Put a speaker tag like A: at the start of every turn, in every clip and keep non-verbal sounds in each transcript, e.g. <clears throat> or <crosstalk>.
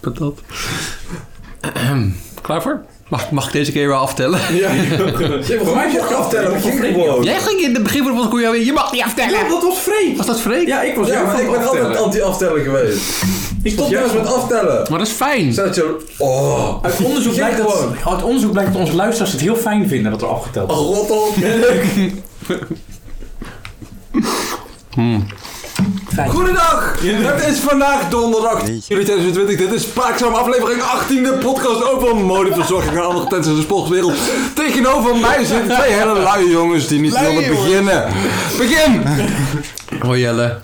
A: patat. Ahem. <clears throat> Klaar voor? Mag, mag ik deze keer weer aftellen?
B: <laughs>
C: Ja, volgens mij mocht je aftellen. Dat ging gewoon.
A: Jij ging in het begin van de podcast weer, je mag niet
C: Ja,
A: aftellen.
C: dat was vreemd.
A: Was dat Freek?
C: Ja, ik was
B: Ja,
C: jou
B: maar
C: van
B: ik ben altijd anti-aftellen geweest. Ik stop juist met aftellen.
A: Maar dat is fijn.
B: Zodat je... Oh.
C: Uit onderzoek, blijkt
B: gewoon.
C: dat, uit onderzoek blijkt dat onze luisteraars het heel fijn vinden dat er afgeteld wordt.
B: Oh, Rot op.
C: <laughs> Fijn.
B: Goedendag! Het is vandaag donderdag 10 juli 2020. Dit is Spraakzaam aflevering 18, de podcast over modeverzorging en andere trends in de sportwereld. Tegenover mij zitten twee hele luie jongens die niet willen beginnen.
C: <laughs>
B: Begin!
A: Hoi Jelle.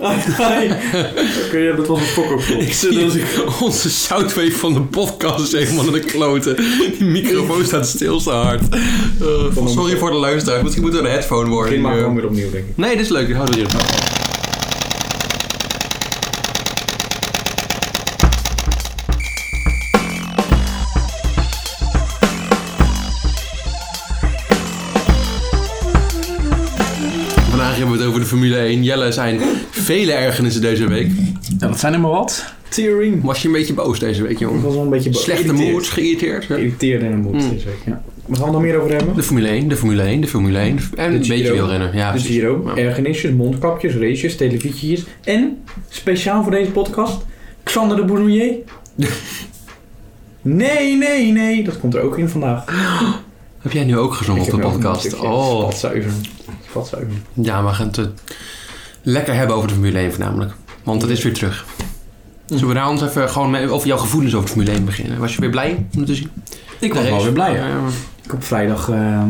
C: Kun je dat was een fokkerpoel. Ik
A: Onze soundwave van de podcast is helemaal naar de kloten. Die microfoon staat stil te hard. Eh, sorry eh, voor de luisteraar. Misschien moet er een headphone worden.
C: maak
A: nu.
C: gewoon weer opnieuw, denk ik.
A: Nee, dit is leuk. Ik hou er hier van. Vandaag hebben we het over de Formule 1. Jelle, er zijn vele ergernissen deze week.
C: Ja, dat zijn er maar wat. Theorem.
A: Was je een beetje boos deze week,
C: Ik
A: jongen?
C: was wel een beetje
A: Slechte moed, geïrriteerd. hè?
C: Geïrriteerd in een moed
A: Mm.
C: deze week, ja. We gaan er nog meer over hebben.
A: De Formule 1, de Formule 1, de Formule 1. En een
C: De Giro.
A: beetje wielrennen. Ja,
C: De
A: precies.
C: Giro,
A: Ja.
C: Dus ergernisjes, mondkapjes, races, televisietjes en, speciaal voor deze podcast, Xander de
A: <laughs>
C: Bournier. nee, nee, nee, dat komt er ook in vandaag.
A: Heb jij nu ook gezongen op de podcast? Oh,
C: Vatzuiver. Vatzuiver.
A: Ja, we gaan het eh, lekker hebben over de Formule 1 voornamelijk. Want het is weer terug.
C: Mm.
A: Zullen we daar ons even gewoon mee- over jouw gevoelens over de Formule 1 beginnen? Was je weer blij om het te zien? Oh,
C: Ik was wel weer blij. hè. Ik op vrijdag, ehm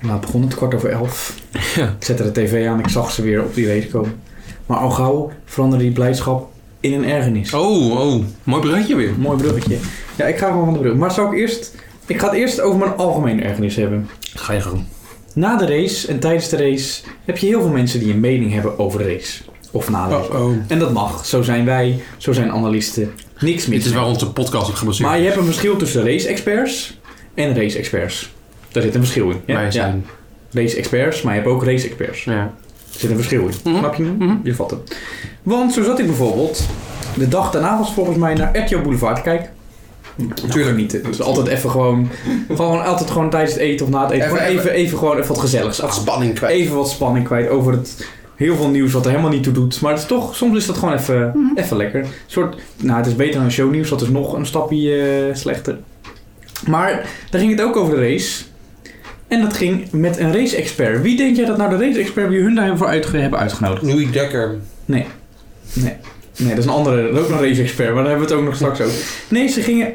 C: laat begon het, kwart over elf.
A: <laughs> Ja.
C: Ik zette de tv aan, ik zag ze weer op die race komen. Maar al gauw veranderde die blijdschap in een ergernis.
A: Oh, oh. Mooi bruggetje weer.
C: Mooi bruggetje. Ja, ik ga gewoon van de brug. Maar zou ik eerst... Ik ga het eerst over mijn algemene ergernis hebben.
A: Ga je gang.
C: Na de race en tijdens de race heb je heel veel mensen die een mening hebben over de race. Of na de race.
A: oh.
C: En dat mag. Zo zijn wij, zo zijn analisten. Niks
A: Dit
C: mis.
A: is waar onze podcast op gebaseerd
C: Maar
A: is.
C: je hebt een verschil tussen race-experts en race-experts. Daar zit een verschil in. Ja,
A: Wij
C: ja.
A: zijn.
C: Race-experts, maar je hebt ook race-experts.
A: Ja.
C: Er zit een verschil in.
A: Mhm.
C: Snap je? hem?
A: Mhm.
C: Je vat hem. Want zo zat ik bijvoorbeeld... De dag daarna was volgens mij naar RTL Boulevard te kijken. Natuurlijk niet. Het is altijd even gewoon... gewoon altijd gewoon tijdens het eten of na het eten.
A: Even-
C: gewoon even,
A: even-
C: even gewoon even wat gezelligs. af-
A: Spanning kwijt.
C: Even wat spanning kwijt over het... Heel veel nieuws wat er helemaal niet toe doet. Maar het is toch, soms is dat gewoon even, even lekker. Een soort, nou, het is beter dan shownieuws. Dat is nog een stapje eh, slechter. Maar daar ging het ook over de race. En dat ging met een race-expert. Wie denk jij dat nou de race-expert wie hun daarvoor uitge hebben uitgenodigd?
A: Louis Dekker.
C: Nee, dat is een andere, dat is ook een race-expert, maar daar hebben we het ook nog straks over. Nee, ze gingen.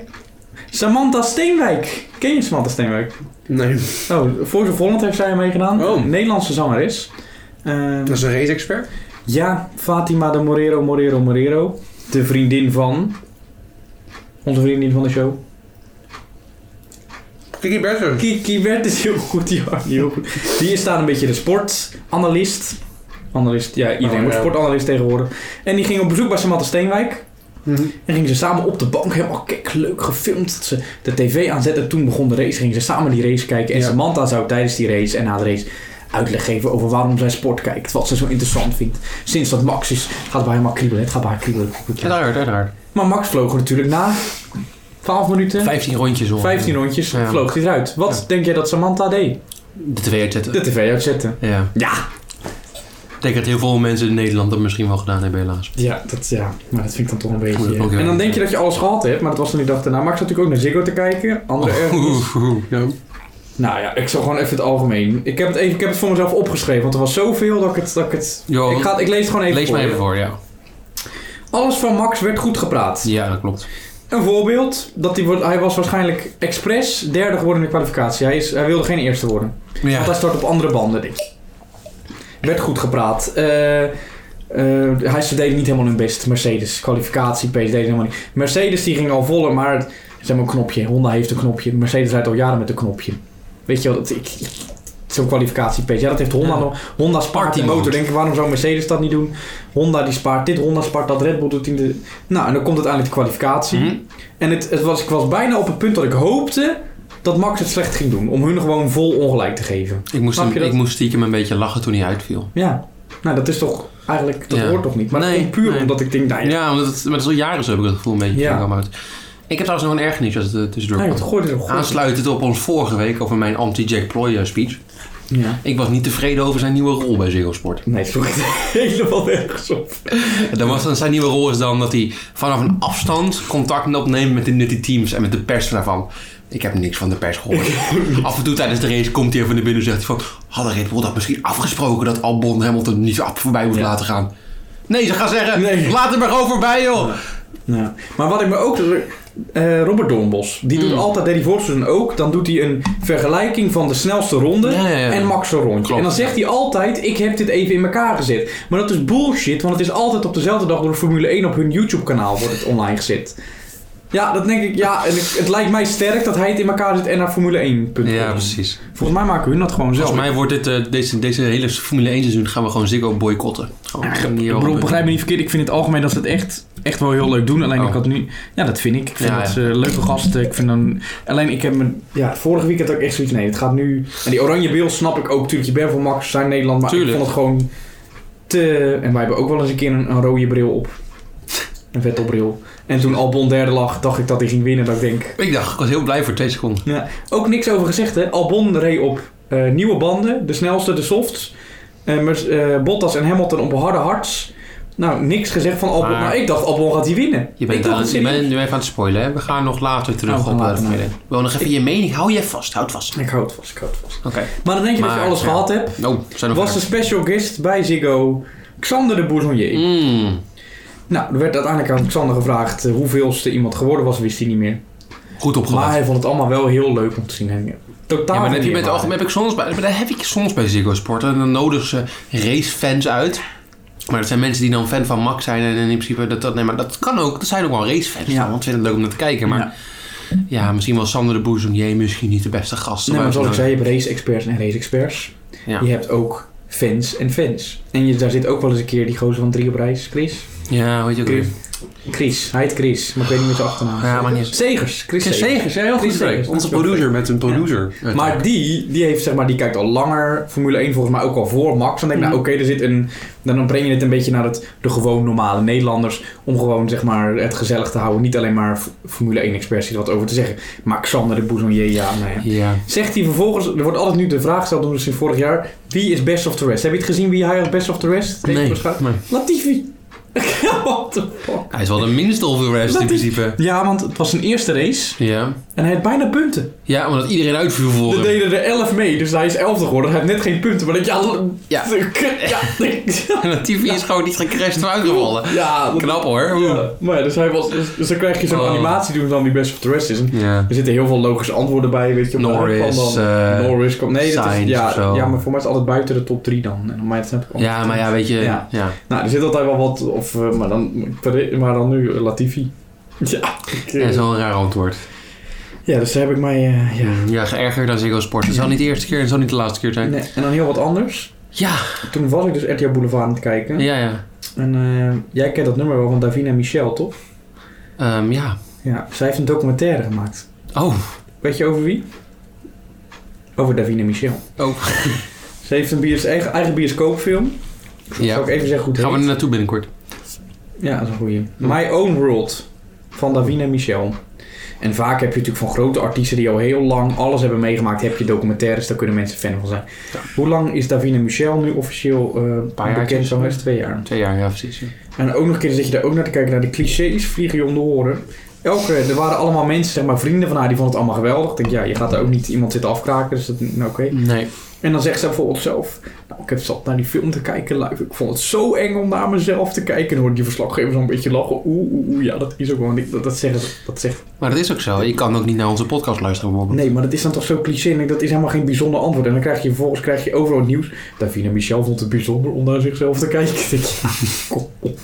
C: Samantha Steenwijk. Ken je Samantha Steenwijk?
A: Nee.
C: Oh, Voice of Holland heeft zij meegedaan.
A: Oh.
C: Nederlandse zangeres. Ehm,
A: is een race-expert.
C: ja, Fatima de Morero, Morero, Morero. De vriendin van. Onze vriendin van de show.
A: Kiki Bertens.
C: Kiki werd is heel goed, die Arnie, heel goed. Die is daar een beetje de sportanalist. Analist, ja, iedereen
A: Oh,
C: wordt
A: ja.
C: sportanalist tegenwoordig. En die ging op bezoek bij Samantha Steenwijk.
A: Mhm.
C: En gingen ze samen op de bank, helemaal kijk, leuk gefilmd. Dat ze de tv aanzetten, toen begon de race. Gingen ze samen die race kijken. En
A: Ja.
C: Samantha zou tijdens die race en na de race uitleg geven over waarom zij sport kijkt. Wat ze zo interessant vindt. Sinds dat Max is, gaat bij helemaal kriebelen. Het gaat bij haar kriebelen.
A: Uiteraard, uiteraard.
C: Maar Max vloog er natuurlijk na 12 minuten,
A: 15 rondjes om. eh,
C: 15 rondjes,
A: Ja.
C: vloog hij eruit. Wat denk jij dat Samantha deed?
A: De twee uitzetten.
C: De tv uitzetten.
A: Ja.
C: Ja.
A: Ik denk dat heel veel mensen in Nederland dat misschien wel gedaan hebben, helaas.
C: Ja, dat, ja, maar dat vind ik dan toch een
A: Moet
C: beetje...
A: ik ook
C: en dan
A: even-
C: denk je dat je alles gehad hebt, maar dat was dan die dag daarna. Maar ik zat natuurlijk ook naar Ziggo te kijken. Andere Oh,
A: Oh.
C: ergens.
A: Oeh, oeh, ja.
C: Nou ja, ik zal gewoon even het algemeen. Ik heb het, even, ik heb het voor mezelf opgeschreven, want er was zoveel dat ik het... Dat ik, het
A: Jo,
C: ik, ga, het- ik lees het gewoon even
A: Oh. Lees
C: voor
A: maar
C: je.
A: even voor, ja.
C: Alles van Max werd goed gepraat.
A: Ja, dat klopt.
C: Een voorbeeld, dat hij, wordt- hij was waarschijnlijk expres derde geworden in de kwalificatie. Hij, is, hij wilde geen eerste worden.
A: Ja.
C: Want hij start op andere banden, denk ik. Werd goed gepraat. Eh, eh, hij ze deden niet helemaal hun best. Mercedes, kwalificatie, PS deden helemaal niet. Mercedes die ging al volle, maar ze hebben een knopje. Honda heeft een knopje. Mercedes rijdt al jaren met een knopje. Weet je wel, dat ik... ik- Zo'n kwalificatie pace. Ja, dat heeft Honda
A: Ja.
C: nog. Honda spaart die motor.
A: Partymotor.
C: Denk ik, waarom zou Mercedes dat niet doen? Honda die spaart dit, Honda spaart dat, Red Bull doet in de... Nou, en dan komt uiteindelijk de kwalificatie.
A: Mhm.
C: En het, het was, ik was bijna op het punt dat ik hoopte dat Max het slecht ging doen. Om hun gewoon vol ongelijk te geven.
A: Ik moest,
C: Snap
A: hem-
C: je dat?
A: ik moest stiekem een beetje lachen toen hij uitviel.
C: Ja, nou dat is toch eigenlijk, dat
A: Ja.
C: hoort toch niet. Maar
A: Nee,
C: dat komt puur
A: nee.
C: omdat ik denk, nou ja,
A: Ja, omdat het, maar dat is al jaren zo, heb ik het gevoel een beetje.
C: Ja.
A: Ja. uit. Ik heb trouwens nog een ergernis als het eh, tussendoor
C: nou ja,
A: komt.
C: het gooit er ook goed.
A: Aansluitend op ons vorige week over mijn anti-Jack Ploy eh, speech.
C: Ja.
A: Ik was niet tevreden over zijn nieuwe rol bij Ziggo Sport. <laughs>
C: Nee, het sloeg <laughs> helemaal nergens op.
A: Dan was dan zijn nieuwe rol is dan dat hij vanaf een afstand contact opneemt met de met die teams en met de pers daarvan. Ik heb niks van de pers gehoord. Af en toe tijdens de race komt hij even naar binnen en zegt hij van... Hadden Red Bull dat misschien afgesproken dat Albon Hamilton niet af- voorbij moet
C: Ja.
A: laten gaan? Nee, ze gaan zeggen,
C: Nee.
A: laat hem maar gewoon voorbij joh.
C: Ja. Maar wat ik me ook... eh Robert Doornbos, die doet
A: Mm.
C: altijd, deed hij vorig seizoen ook, dan doet hij een vergelijking van de snelste ronde
A: Ja, ja, ja.
C: en Max een rondje.
A: Klopt.
C: En dan zegt hij altijd, ik heb dit even in elkaar gezet. Maar dat is bullshit, want het is altijd op dezelfde dag door Formule 1 op hun YouTube kanaal wordt het online gezet. Ja, dat denk ik, ja, en ik- het lijkt mij sterk dat hij het in elkaar zet en naar Formule 1.
A: Ja, precies.
C: Volgens mij maken hun dat gewoon zelf.
A: Volgens mij wordt dit, eh, deze, deze hele Formule 1 seizoen gaan we gewoon Ziggo boycotten. Gewoon,
C: Ja,
A: gaan we niet
C: ik bedoel,
A: helpen.
C: begrijp me niet verkeerd. Ik vind in het algemeen dat ze het echt, echt wel heel leuk doen. Alleen
A: Oh.
C: ik had nu... Ja, dat vind ik. Ik vind
A: Ja,
C: dat
A: ja.
C: ze leuke gasten. Ik vind dan... Alleen ik heb me... Ja, vorige weekend ook echt zoiets... Nee, het gaat nu... En die oranje beeld snap ik ook. Tuurlijk, je bent voor Max, zijn Nederland. Maar
A: Tuurlijk.
C: ik vond het gewoon te... En wij hebben ook wel eens een keer een, een rode bril op. Een vettelbril. En toen Albon derde lag, dacht ik dat hij ging winnen. Dat ik denk...
A: Ik dacht, ik was heel blij voor twee seconden.
C: Ook niks over gezegd, hè. Albon reed op eh, nieuwe banden. De snelste, de softs. Eh, Mer- eh, Bottas en Hamilton op harde hards. Nou, niks gezegd van Albon.
A: Maar-
C: Maar ik dacht, Albon gaat die winnen.
A: Je
C: ik
A: bent,
C: dacht
A: aan,
C: het
A: je
C: serieus.
A: bent nu even aan het spoilen, hè? We gaan nog later
C: Oh,
A: terug
C: we
A: op
C: gaan
A: de
C: later,
A: Formule Wel nog even je mening. Hou je vast, houd vast.
C: Ik hou het vast, ik hou het vast.
A: Oké.
C: Maar dan denk je dat
A: Maar,
C: je alles
A: ja.
C: gehad hebt.
A: Nou, zijn nog
C: Was de
A: vragen?
C: special guest bij Ziggo Xander de Bourgonnier.
A: Mm.
C: Nou, er werd uiteindelijk aan Xander gevraagd eh, hoeveelste iemand geworden was, wist hij niet meer.
A: Goed
C: Maar
A: opgelet.
C: hij vond het allemaal wel heel leuk om te zien. hè. Totaal
A: Ja, maar dat heb, je met,
C: niet
A: algemeen- heb ik soms bij, maar dat heb ik soms bij Ziggo Sport. En dan nodigen ze racefans uit. Maar dat zijn mensen die dan fan van Max zijn. En in principe, dat, dat, nee, maar dat kan ook. Dat zijn ook wel racefans.
C: Ja.
A: Ja. Want ze vinden het leuk om naar te kijken. Maar ja,
C: Ja.
A: misschien wel Sander de Boezonier misschien niet de beste gast.
C: Nee, maar
A: Maar
C: zoals ik
A: nou-
C: zei, je hebt race-experts en race-experts.
A: Ja.
C: Je hebt ook fans en fans. En je, daar zit ook wel eens een keer die gozer van drie op reis, Chris.
A: Ja, weet je ook.
C: Chris.
A: weer.
C: Chris, hij heet Chris, maar ik weet niet meer zijn achternaam.
A: Ja, maar niet.
C: Segers, Chris
A: Chris Segers, ja, heel
C: Chris
A: goed. Freek.
C: Segers.
A: Onze producer met een producer.
C: Maar die, die, heeft, zeg maar, die kijkt al langer Formule 1 volgens mij ook al voor Max. Dan denk ik, nou
A: Mhm.
C: oké, er zit een... Dan dan breng je het een beetje naar het, de gewoon normale Nederlanders. Om gewoon, zeg maar, het gezellig te houden. Niet alleen maar F- Formule 1-experts die er wat over te zeggen. Maar Xander de Bouzonnier, ja, nou ja.
A: Ja.
C: Zegt hij vervolgens, er wordt altijd nu de vraag gesteld, doen we sinds vorig jaar. Wie is best of the rest? Heb je het gezien wie hij als best of the rest? tegen
A: Nee.
C: ons gaat?
A: nee.
C: Latifi. <laughs> What the fuck?
A: Hij is wel de minste of the rest in
C: Dat is-
A: principe.
C: Ja, want het was zijn eerste race
A: Ja.
C: en hij had bijna punten.
A: Ja, omdat iedereen uitviel voor
C: Er <laughs>
A: hem.
C: deden er 11 mee, dus hij is 11 geworden. Hij heeft net geen punten, maar dat ja.
A: Ja.
C: <laughs> Ja,
A: En dat TV is gewoon niet gecrashed maar uitgevallen.
C: ja, dat-
A: Knap hoor.
C: ja. Maar ja, dus, hij was, dus, dus dan krijg je zo'n
A: Oh.
C: animatie doen van wie best of the rest is. En
A: Ja.
C: Er zitten heel veel logische antwoorden bij, weet je. op de
A: Norris,
C: iPhone dan.
A: eh,
C: Norris komt. Nee, dat is,
A: Sainz of
C: ja,
A: zo.
C: ja, maar voor mij is het altijd buiten de top 3 dan. En mij snap ik ook.
A: ja, maar ja, weet je.
C: Ja.
A: Ja.
C: Nou, er zit altijd wel wat. Of, eh, maar, dan, maar dan nu eh, Latifi. <laughs> Ja, ik, eh,
A: Dat is wel een raar antwoord.
C: ja, dus daar heb ik mij. eh, ja.
A: Ja, geërgerd dan Ziggo Sport. Het zal niet de eerste keer en het zal niet de laatste keer zijn.
C: Nee, en dan heel wat anders.
A: Ja,
C: Toen was ik dus RTL Boulevard aan het kijken.
A: ja, ja.
C: En eh, jij kent dat nummer wel van Davina Michel, toch?
A: Ehm, ja.
C: Ja, zij heeft een documentaire gemaakt.
A: Oh.
C: Weet je over wie? Over Davina Michel.
A: Oh.
C: <laughs> Ze heeft een bios- eigen, eigen bioscoopfilm.
A: Ja.
C: Zal ik even zeggen hoe het
A: Gaan we er
C: heet?
A: naartoe binnenkort?
C: Ja, dat is een goeie. My Own World van Davina Michel. En vaak heb je natuurlijk van grote artiesten die al heel lang alles hebben meegemaakt, heb je documentaires, daar kunnen mensen fan van zijn.
A: Ja.
C: Hoe lang is Davina Michel nu officieel eh
A: paar jaar
C: bekend? Zo'n
A: tussen.
C: rest twee jaar.
A: Twee jaar, ja, precies. ja.
C: En ook nog een keer zit je daar ook naar te kijken naar de clichés vliegen je om de oren. Elke, er waren allemaal mensen, zeg maar vrienden van haar, die vonden het allemaal geweldig. Ik denk, ja, je gaat er ook niet iemand zitten afkraken, dus dat, nou, oké.
A: Nee.
C: En dan zegt ze bijvoorbeeld zelf, nou, ik heb zat naar die film te kijken, luif. Ik vond het zo eng om naar mezelf te kijken. En dan hoorde die verslaggever zo'n beetje lachen. Oeh, oeh, oeh, ja, dat is ook wel niet. Dat, dat, zeggen ze- dat zegt.
A: Maar dat is ook zo. Je kan ook niet naar onze podcast luisteren bijvoorbeeld.
C: Nee, maar dat is dan toch zo cliché. En ik denk, dat is helemaal geen bijzonder antwoord. En dan krijg je vervolgens krijg je overal het nieuws. Davina Michel vond het bijzonder om naar zichzelf te kijken. <laughs> Ik denk, ja, kom op.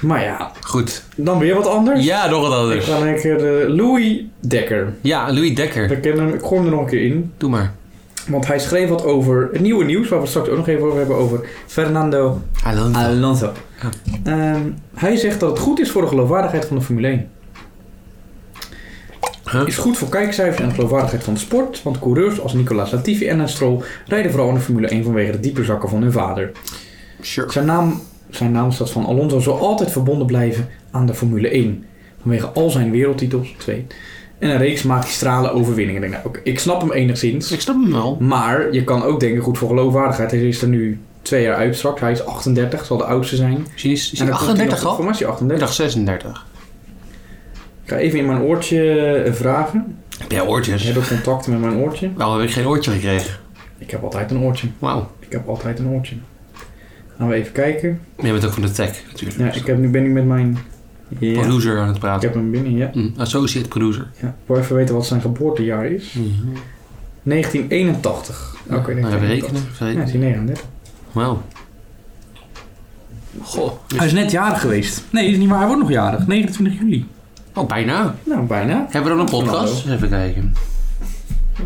C: Maar ja,
A: Goed.
C: dan weer wat anders.
A: Ja, nog wat
C: Ik
A: anders.
C: ga een keer de Louis Dekker.
A: Ja, Louis Dekker.
C: We kennen hem, ik gooi hem er nog een keer in.
A: Doe maar.
C: Want hij schreef wat over het nieuwe nieuws, waar we het straks ook nog even over hebben, over Fernando
A: Hallo.
C: Alonso.
A: Ja.
C: Ehm, hij zegt dat het goed is voor de geloofwaardigheid van de Formule 1.
A: Huh?
C: Is goed voor kijkcijfers en de geloofwaardigheid van de sport, want coureurs als Nicolas Latifi en een Stroll rijden vooral in de Formule 1 vanwege de diepe zakken van hun vader.
A: Sure.
C: Zijn naam, zijn naam staat van Alonso zal altijd verbonden blijven aan de Formule 1. Vanwege al zijn wereldtitels, twee. En een reeks magistrale overwinningen. Ik, denk, nou, oké, ik snap hem enigszins.
A: Ik snap hem wel.
C: Maar je kan ook denken, goed voor geloofwaardigheid. Hij is er nu twee jaar uit straks. Hij is 38, zal de oudste zijn.
A: Zie is
C: En
A: hij
C: dan komt hij
A: 38
C: nog-
A: al?
C: Voor mij is hij
A: Ik
C: 38.
A: dacht 36.
C: Ik ga even in mijn oortje eh, vragen.
A: Heb jij oortjes?
C: Heb ik contact met mijn oortje?
A: Nou, heb ik geen oortje gekregen.
C: Ik heb altijd een oortje.
A: Wauw.
C: Ik heb altijd een oortje. Gaan we even kijken.
A: Jij bent ook van de tech natuurlijk.
C: Ja, ik heb, nu ben ik met mijn... Ja,
A: Producer aan het
C: ik
A: praten.
C: heb hem binnen, ja.
A: Mm, associate producer.
C: ja. Ik wil even weten wat zijn geboortejaar is. 1981. Oké,
A: Oké, nou, even
C: 1981.
A: rekenen. even
C: Ja,
A: rekenen.
C: is hij 39.
A: Wauw. Goh.
C: Hij is net jarig geweest. Nee, is niet waar. Hij wordt nog jarig. 29 juli.
A: Oh, bijna.
C: Nou, bijna.
A: Hebben we dan een podcast? Even kijken.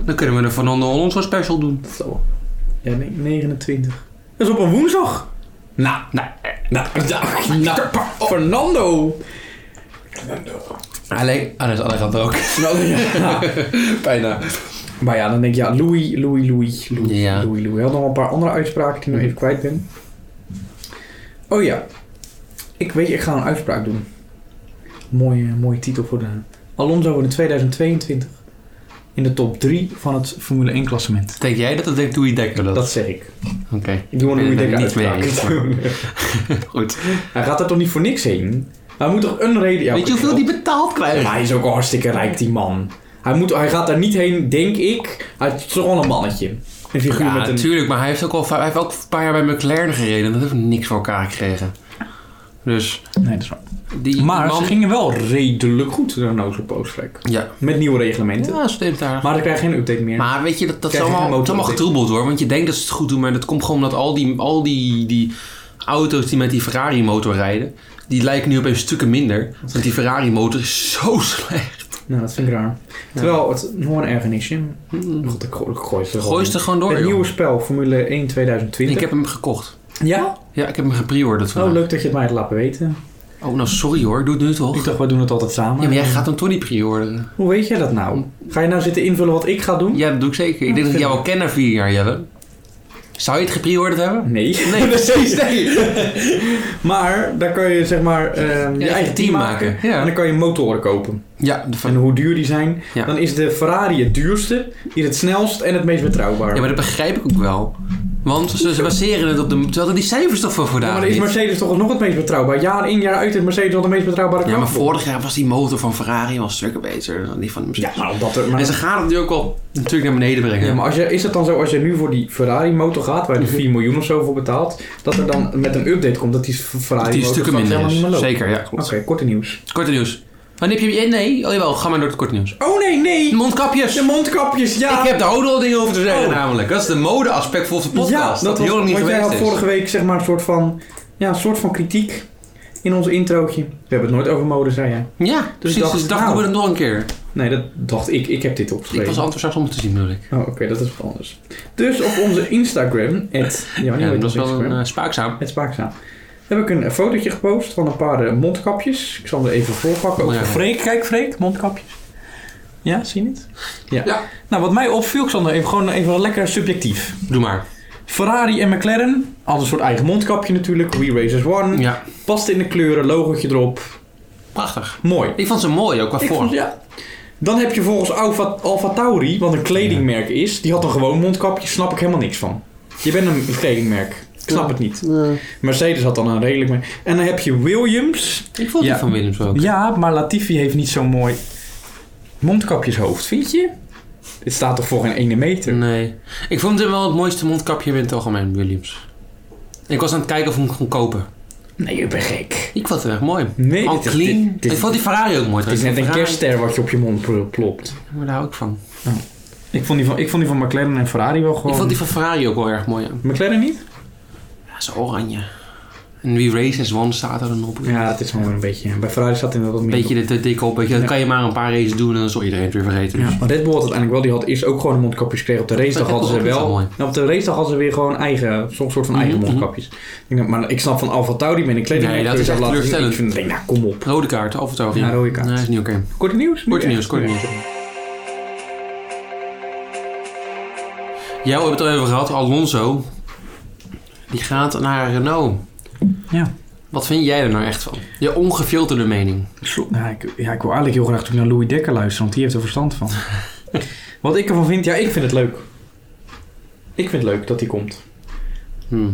A: Dan kunnen we een Fernando Alonso special doen.
C: Zo. Ja, nee, 29. Dat is op een woensdag. Nou,
A: Nou,
C: nou, nou, Fernando.
A: alleen. Ah, dat is Alejandro ook. <laughs>
C: Nou, <laughs> ja.
A: Bijna.
C: Maar ja, dan denk je, ja, Louis, Louis, Louis, Louis,
A: Ja.
C: Louis, Louis. Hij had nog wel een paar andere uitspraken die ik nog even kwijt ben. Oh ja, ik weet, ik ga een uitspraak doen. Mooie, mooie titel voor de... Alonso wordt in 2022 in de top 3 van het Formule 1 klassement.
A: Denk jij dat of denkt Louis Dekker dat?
C: Dat zeg ik.
A: Oké.
C: Ik doe een
A: Ik
C: Louis
A: ben
C: Dekker
A: er niet mee
C: uitspraak. <laughs>
A: Goed.
C: Hij gaat er toch niet voor niks heen? Hij moet toch een reden... Ja,
A: Weet je
C: oké,
A: hoeveel die betaald krijgen?
C: Maar hij is ook al hartstikke rijk, die man. Hij, moet, hij gaat daar niet heen, denk ik. Hij is toch wel een mannetje. Een figuur
A: Ja,
C: met een...
A: natuurlijk, maar hij heeft ook al hij heeft ook een paar jaar bij McLaren gereden en dat heeft niks voor elkaar gekregen. Dus
C: Nee, dat is waar.
A: die
C: Maar
A: man...
C: ze gingen wel redelijk goed, Renault op Oostenrijk.
A: Ja,
C: Met nieuwe reglementen.
A: ja stemt daar. Maar,
C: Maar ik krijg geen update meer.
A: weet je, dat, dat is
C: Krijg je
A: allemaal,
C: geen
A: het is allemaal
C: motor-
A: getroebeld hoor. Want je denkt dat ze het goed doen, maar dat komt gewoon omdat al die, al die, die auto's die met die Ferrari motor rijden, die lijken nu opeens stukken minder. Want die Ferrari motor is zo <laughs> slecht.
C: Nou, dat vind ik raar. Terwijl, het nog een ergernisje. God, ik gooi, ik gooi het er gewoon
A: Gooi
C: in.
A: ze er gewoon door,
C: Het
A: joh.
C: nieuwe spel, Formule 1 2020.
A: Ik heb hem gekocht.
C: Ja?
A: Ja, ik heb hem gepreorderd
C: Oh,
A: vandaag.
C: leuk dat je het mij hebt laten weten.
A: Oh, nou sorry hoor, doe het nu toch?
C: Ik dacht, we doen het altijd samen.
A: Ja, maar jij gaat hem toch niet preorderen?
C: Hoe weet jij dat nou? Ga je nou zitten invullen wat ik ga doen?
A: Ja, dat doe ik zeker. Ik denk dat ik jou al ken na vier jaar, Jelle. Zou je het gepreorderd hebben?
C: <laughs> Nee.
A: Nee, precies. Nee.
C: <laughs> Maar daar kan je zeg maar ehm, je eigen team maken.
A: Ja.
C: En dan kan je motoren kopen.
A: Ja, de
C: En
A: van...
C: hoe duur die zijn.
A: Ja.
C: Dan is de Ferrari het duurste, die is het snelst en het meest betrouwbaar.
A: ja, maar dat begrijp ik ook wel. Want ze, ze baseren het op de... Ze hadden die cijfers toch voor
C: Ja,
A: vandaag
C: maar dan is
A: niet?
C: Mercedes toch nog het meest betrouwbaar. Jaar in, jaar uit is Mercedes al de meest betrouwbare
A: Ja, maar
C: krachtbron.
A: vorig jaar was die motor van Ferrari wel stukken beter dan die van Mercedes.
C: Ja, maar omdat er... Maar,
A: En ze gaan het nu ook al natuurlijk naar beneden brengen.
C: ja, maar als je, is het dan zo, als je nu voor die Ferrari-motor gaat, waar je
A: Mhm.
C: 4 miljoen of zo voor betaalt, dat er dan met een update komt dat die
A: Dat die
C: Ferrari-motor
A: stukken
C: straks
A: minder
C: helemaal niet meer
A: is. Zeker,
C: loopt?
A: ja.
C: Oké,
A: Klopt.
C: korte nieuws.
A: Korte nieuws. Wanneer heb je... eh, Nee, oh jawel, ga maar door het korte nieuws.
C: Oh nee, nee!
A: Mondkapjes!
C: De mondkapjes, ja!
A: Ik heb daar ook nog dingen over te zeggen
C: Oh.
A: namelijk. Dat is de mode-aspect voor de podcast.
C: Ja, dat
A: die
C: was,
A: heel lang niet
C: want jij
A: geweest dus.
C: had
A: is.
C: vorige week zeg maar een soort van, ja, een soort van kritiek in ons introotje. We hebben het nooit over mode, zei jij.
A: Ja, dus precies.
C: dacht,
A: dus ik dacht,
C: nou.
A: doen we het nog een keer.
C: Nee, dat dacht ik. Ik heb dit
A: Ik
C: opgeschreven.
A: was enthousiast om het te zien, bedoel ik.
C: Oh, oké, dat is wel anders. Dus op onze Instagram, het... Oh, Ja, maar
A: Ja,
C: niet
A: dat was
C: op
A: wel een
C: Instagram.
A: eh, spaakzaam.
C: Het spaakzaam. Heb ik een fotootje gepost van een paar eh, mondkapjes. Ik zal hem er even voorpakken. Ook
A: Ja.
C: voor Freek, kijk Freek, mondkapjes. Ja, zie je het? Ja.
A: Ja.
C: Nou, wat mij opviel, ik zal er even, gewoon even lekker subjectief.
A: Doe maar.
C: Ferrari en McLaren, al een soort eigen mondkapje natuurlijk. We Racers One.
A: Ja.
C: Past in de kleuren, logootje erop.
A: Prachtig.
C: Mooi.
A: Ik vond ze mooi, ook qua
C: Ik vond-
A: vorm.
C: ja. Dan heb je volgens Alfa, Alfa Tauri, wat een kledingmerk is, die had een gewoon mondkapje, snap ik helemaal niks van. Je bent een kledingmerk. Ik snap het niet. Mercedes had dan een redelijk merk. En dan heb je Williams.
A: Ik vond
C: Ja.
A: die van Williams ook.
C: Ja, maar Latifi heeft niet zo'n mooi mondkapjeshoofd, vind je? Dit staat toch voor geen ene meter?
A: Nee. Ik vond hem wel het mooiste mondkapje in het algemeen, Williams. Ik was aan het kijken of ik hem kon kopen.
C: Nee, je bent gek.
A: Ik vond het echt mooi.
C: Nee,
A: Al
C: dit is-
A: clean.
C: dit- dit-
A: ik vond die Ferrari ook mooi.
C: Het is net een
A: Ferrari-
C: kerstster wat je op je mond pl- plopt.
A: Maar daar hou ik van.
C: Ik vond die van, ik vond die van McLaren en Ferrari wel gewoon...
A: Ik vond die van Ferrari ook wel erg mooi. Ja,
C: McLaren niet?
A: ja zo oranje. En wie races won staat er dan op.
C: Ja, dat is gewoon een beetje... Bij Ferrari zat inderdaad wat
A: Een
C: meer...
A: beetje de, de dikke op. weet je, Dat
C: Ja.
A: kan je maar een paar races doen en dan zal iedereen het weer vergeten. Dus.
C: Ja, maar Red Bull had uiteindelijk wel, die had eerst ook gewoon mondkapjes gekregen. Op de race dag
A: Dat
C: hadden ze
A: vond ik ook
C: wel.
A: wel mooi.
C: Nou, op de race dag hadden ze weer gewoon eigen, soms soort van eigen
A: Mhm, mhm.
C: mondkapjes. Ik denk, maar ik snap van Alfa Tauri ben ik kleding.
A: Nee, dat is echt teleurstellend.
C: Ik vind, ik denk, nou kom op.
A: Rode kaart, af en toe.
C: Ja, rode kaart.
A: Nee, is niet oké.
C: Korte nieuws? Nu
A: Korte
C: echt?
A: nieuws, korte nieuws. Jou hebben we het al even gehad, Alonso. Die gaat naar Renault.
C: Ja.
A: Wat vind jij er nou echt van? Je ongefilterde mening.
C: Zo- Nou, ik, ja, ik wil eigenlijk heel graag natuurlijk naar Louis Dekker luisteren, want die heeft er verstand
A: <laughs>
C: van. Wat ik ervan vind, ja, ik vind het leuk. Ik vind het leuk dat hij komt.
A: Hm.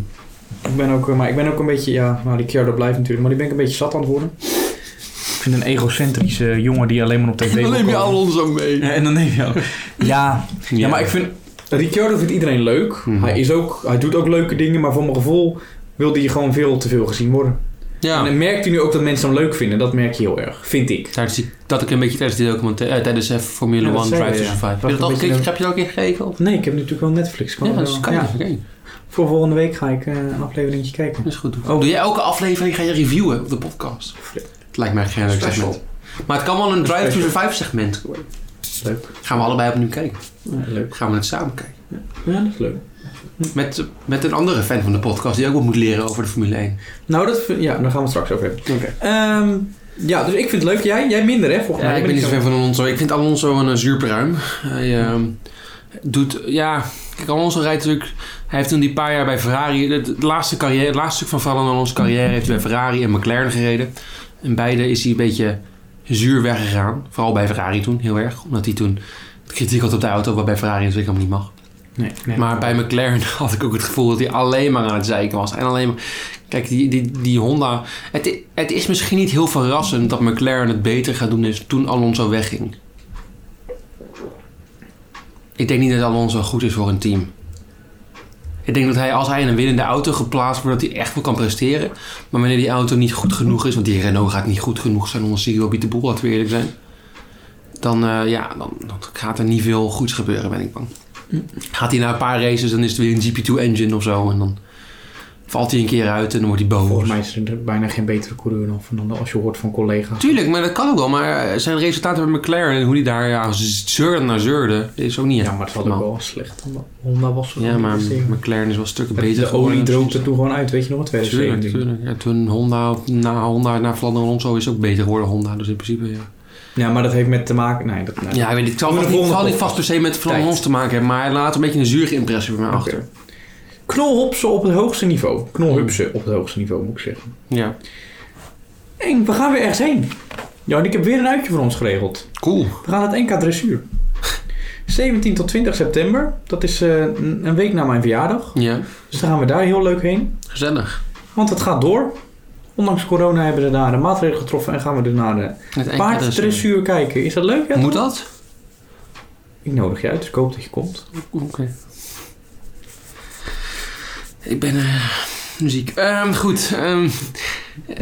C: Ik ben ook, eh, maar ik ben ook een beetje, ja, nou, die Kjardo blijft natuurlijk, maar die ben ik een beetje zat aan het worden. Ik vind een egocentrische jongen die alleen maar op
A: <laughs>
C: tv wil
A: Neem je
C: komen.
A: Alonso mee.
C: Ja, en dan neem je al. Ja, ja, maar ik vind. Ricciardo vindt iedereen leuk.
A: Mhm.
C: Hij, is ook, hij doet ook leuke dingen, maar voor mijn gevoel wilde hij gewoon veel te veel gezien worden. En
A: Ja,
C: dan merkt hij nu ook dat mensen hem leuk vinden. Dat merk je heel erg, vind ik.
A: tijdens die, dat ik een beetje tijdens die documentaire, eh, tijdens eh, Formule
C: Ja, dat
A: 1
C: zei
A: Drive to
C: je, ja.
A: Survive. Heb je
C: Wacht
A: dat al
C: een beetje
A: gekeken?
C: dan-
A: Heb je dat al een keer gekeken? Of?
C: Nee, ik heb natuurlijk wel Netflix.
A: Ja, dat
C: wel-
A: kan
C: ja.
A: even kijken.
C: Voor volgende week ga ik eh, een afleveringetje kijken.
A: Dat is goed.
C: Oh.
A: Doe jij elke aflevering ga je reviewen op de podcast? Het lijkt mij geen leuk
C: Special.
A: segment. Maar het kan wel een Drive to
C: Special.
A: Survive segment worden.
C: Leuk.
A: Gaan we allebei opnieuw kijken.
C: Ja, leuk.
A: Gaan we het samen kijken.
C: Ja, dat is leuk.
A: Met, met een andere fan van de podcast die ook wat moet leren over de Formule 1.
C: Nou, dat vind- ja, daar gaan we het straks over hebben.
A: Oké.
C: Ehm, ja, dus ik vind het leuk. Jij, jij minder, hè? Volgens
A: Ja,
C: mij.
A: ik ben niet zo fan van Alonso. Ik vind Alonso een eh, zuurpruim. Hij ehm, doet, ja... Kijk, Alonso rijdt natuurlijk... Hij heeft toen die paar jaar bij Ferrari... Het, het laatste carrière, het laatste stuk van Fernando Alonso's carrière heeft hij bij Ferrari en McLaren gereden. En beide is hij een beetje zuur weggegaan. Vooral bij Ferrari toen, heel erg. Omdat hij toen kritiek had op de auto, wat bij Ferrari natuurlijk helemaal niet mag.
C: Nee, nee.
A: Maar bij McLaren <laughs> had ik ook het gevoel dat hij alleen maar aan het zeiken was. En alleen maar... Kijk, die, die, die Honda... Het, i- het is misschien niet heel verrassend dat McLaren het beter gaat doen is toen Alonso wegging. Ik denk niet dat Alonso goed is voor een team. Ik denk dat hij, als hij in een winnende auto geplaatst wordt, dat hij echt wel kan presteren. Maar wanneer die auto niet goed genoeg is, want die Renault gaat niet goed genoeg zijn onder Cyril Boel, laten we eerlijk zijn. Dan, eh, ja, dan, dan gaat er niet veel goeds gebeuren, ben ik bang. Gaat hij na een paar races, dan is het weer een GP2-engine of zo. En dan valt hij een keer uit en dan wordt hij boos.
C: Volgens mij is er bijna geen betere coureur dan Fernando als je hoort van collega's.
A: Tuurlijk, maar dat kan ook wel. Maar eh, zijn resultaten bij McLaren en hoe die daar ja, z- zeurde naar zeurde, is ook niet
C: Ja, maar het was ook wel slecht. omdat Honda was zo
A: Ja, maar
C: geïnteresseerd.
A: McLaren is wel stukken
C: Met
A: beter
C: De olie
A: geworden.
C: droopt er toen gewoon uit, weet je nog wat?
A: Tuurlijk,
C: 2017.
A: tuurlijk. Ja, toen Honda op- na Honda naar Flanderen Alonso is ook beter geworden Honda. Dus in principe, ja.
C: Ja, maar dat heeft met te maken... Nee, dat... nee.
A: Ja, ik weet niet. Ik zal,
C: Doen we
A: vast
C: de
A: niet,
C: volgende
A: zal niet vast
C: podcast.
A: per se met Flanderen Alonso te maken hebben. Maar hij laat een beetje een zure impressie bij mij
C: Oké.
A: achter.
C: Knolhopsen op het hoogste niveau. Knolhupsen op het hoogste niveau, moet ik zeggen.
A: Ja.
C: En we gaan weer ergens heen. Ja, en ik heb weer een uitje voor ons geregeld.
A: Cool.
C: We gaan het NK Dressuur. 17 tot 20 september. Dat is eh, een een week na mijn verjaardag.
A: Ja.
C: Dus dan gaan we daar heel leuk heen.
A: Gezellig.
C: Want het gaat door. Ondanks corona hebben ze daar de maatregelen getroffen en gaan we dus naar de
A: Het enkele dressuur.
C: paarddressuur kijken. Is dat leuk? Ja,
A: Moet
C: toch?
A: dat?
C: Ik nodig je uit, dus ik hoop dat je komt.
A: Oké. Ik ben eh, muziek. Ehm, goed. ehm,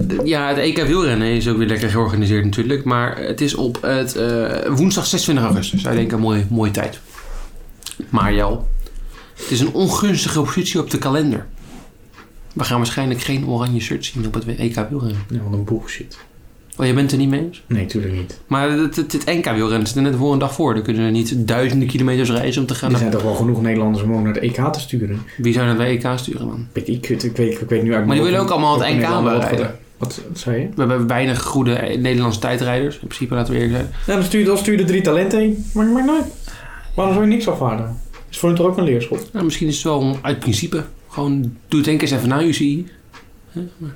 A: d- ja, het EK wielrennen is ook weer lekker georganiseerd natuurlijk. Maar het is op het, eh, woensdag 26 augustus. Ik denk een mooie, mooie tijd. Maar Jel, het is een ongunstige positie op de kalender. We gaan waarschijnlijk geen oranje shirt zien op het EK wielrennen.
C: Ja, wat een bullshit.
A: Oh, jij bent er niet mee eens?
C: Nee, tuurlijk niet.
A: Maar het, het, het NK wielrennen zit er net voor een dag voor. Dan kunnen er niet duizenden kilometers reizen om te gaan.
C: Er
A: naar-
C: zijn toch wel genoeg Nederlanders om ook naar de EK te sturen.
A: Wie zou naar de EK sturen dan?
C: Weet ik, ik, weet, ik weet nu eigenlijk
A: Maar die
C: niet
A: willen ook allemaal
C: of-
A: het
C: of
A: NK
C: Nederland wat-
A: bereiden.
C: Wat, wat zei je?
A: We hebben weinig goede eh, Nederlandse tijdrijders. In principe, laten we eerlijk zijn.
C: Ja, dan stuur, je- dan stuur je de drie talenten heen. Maar dat maakt nooit. Waarom zou je niks afvaarden? Is voor hem toch ook een leerschool?
A: Nou, misschien is het wel een- uit principe. Gewoon, doe het één keer eens even na UCI. Hè, maar-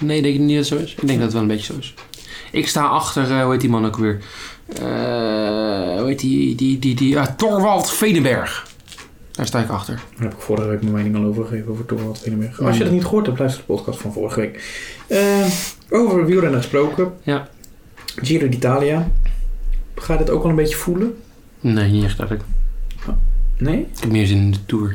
A: Nee, ik denk niet dat het zo is. Ik denk dat het wel een beetje zo is. Ik sta achter, eh, hoe heet die man ook weer? Eh, hoe heet die? die, die, die ah, Torwald Vedenberg. Daar sta ik achter.
C: Daar heb ik vorige week mijn mening al over gegeven over Torwald Veneberg. Als je dat niet gehoord hebt, luister de podcast van vorige week. Eh, over wielrennen gesproken.
A: Ja.
C: Giro d'Italia. Ga je dat ook al een beetje voelen?
A: Nee, niet echt eigenlijk.
C: Nee?
A: Ik heb meer zin in de Tour.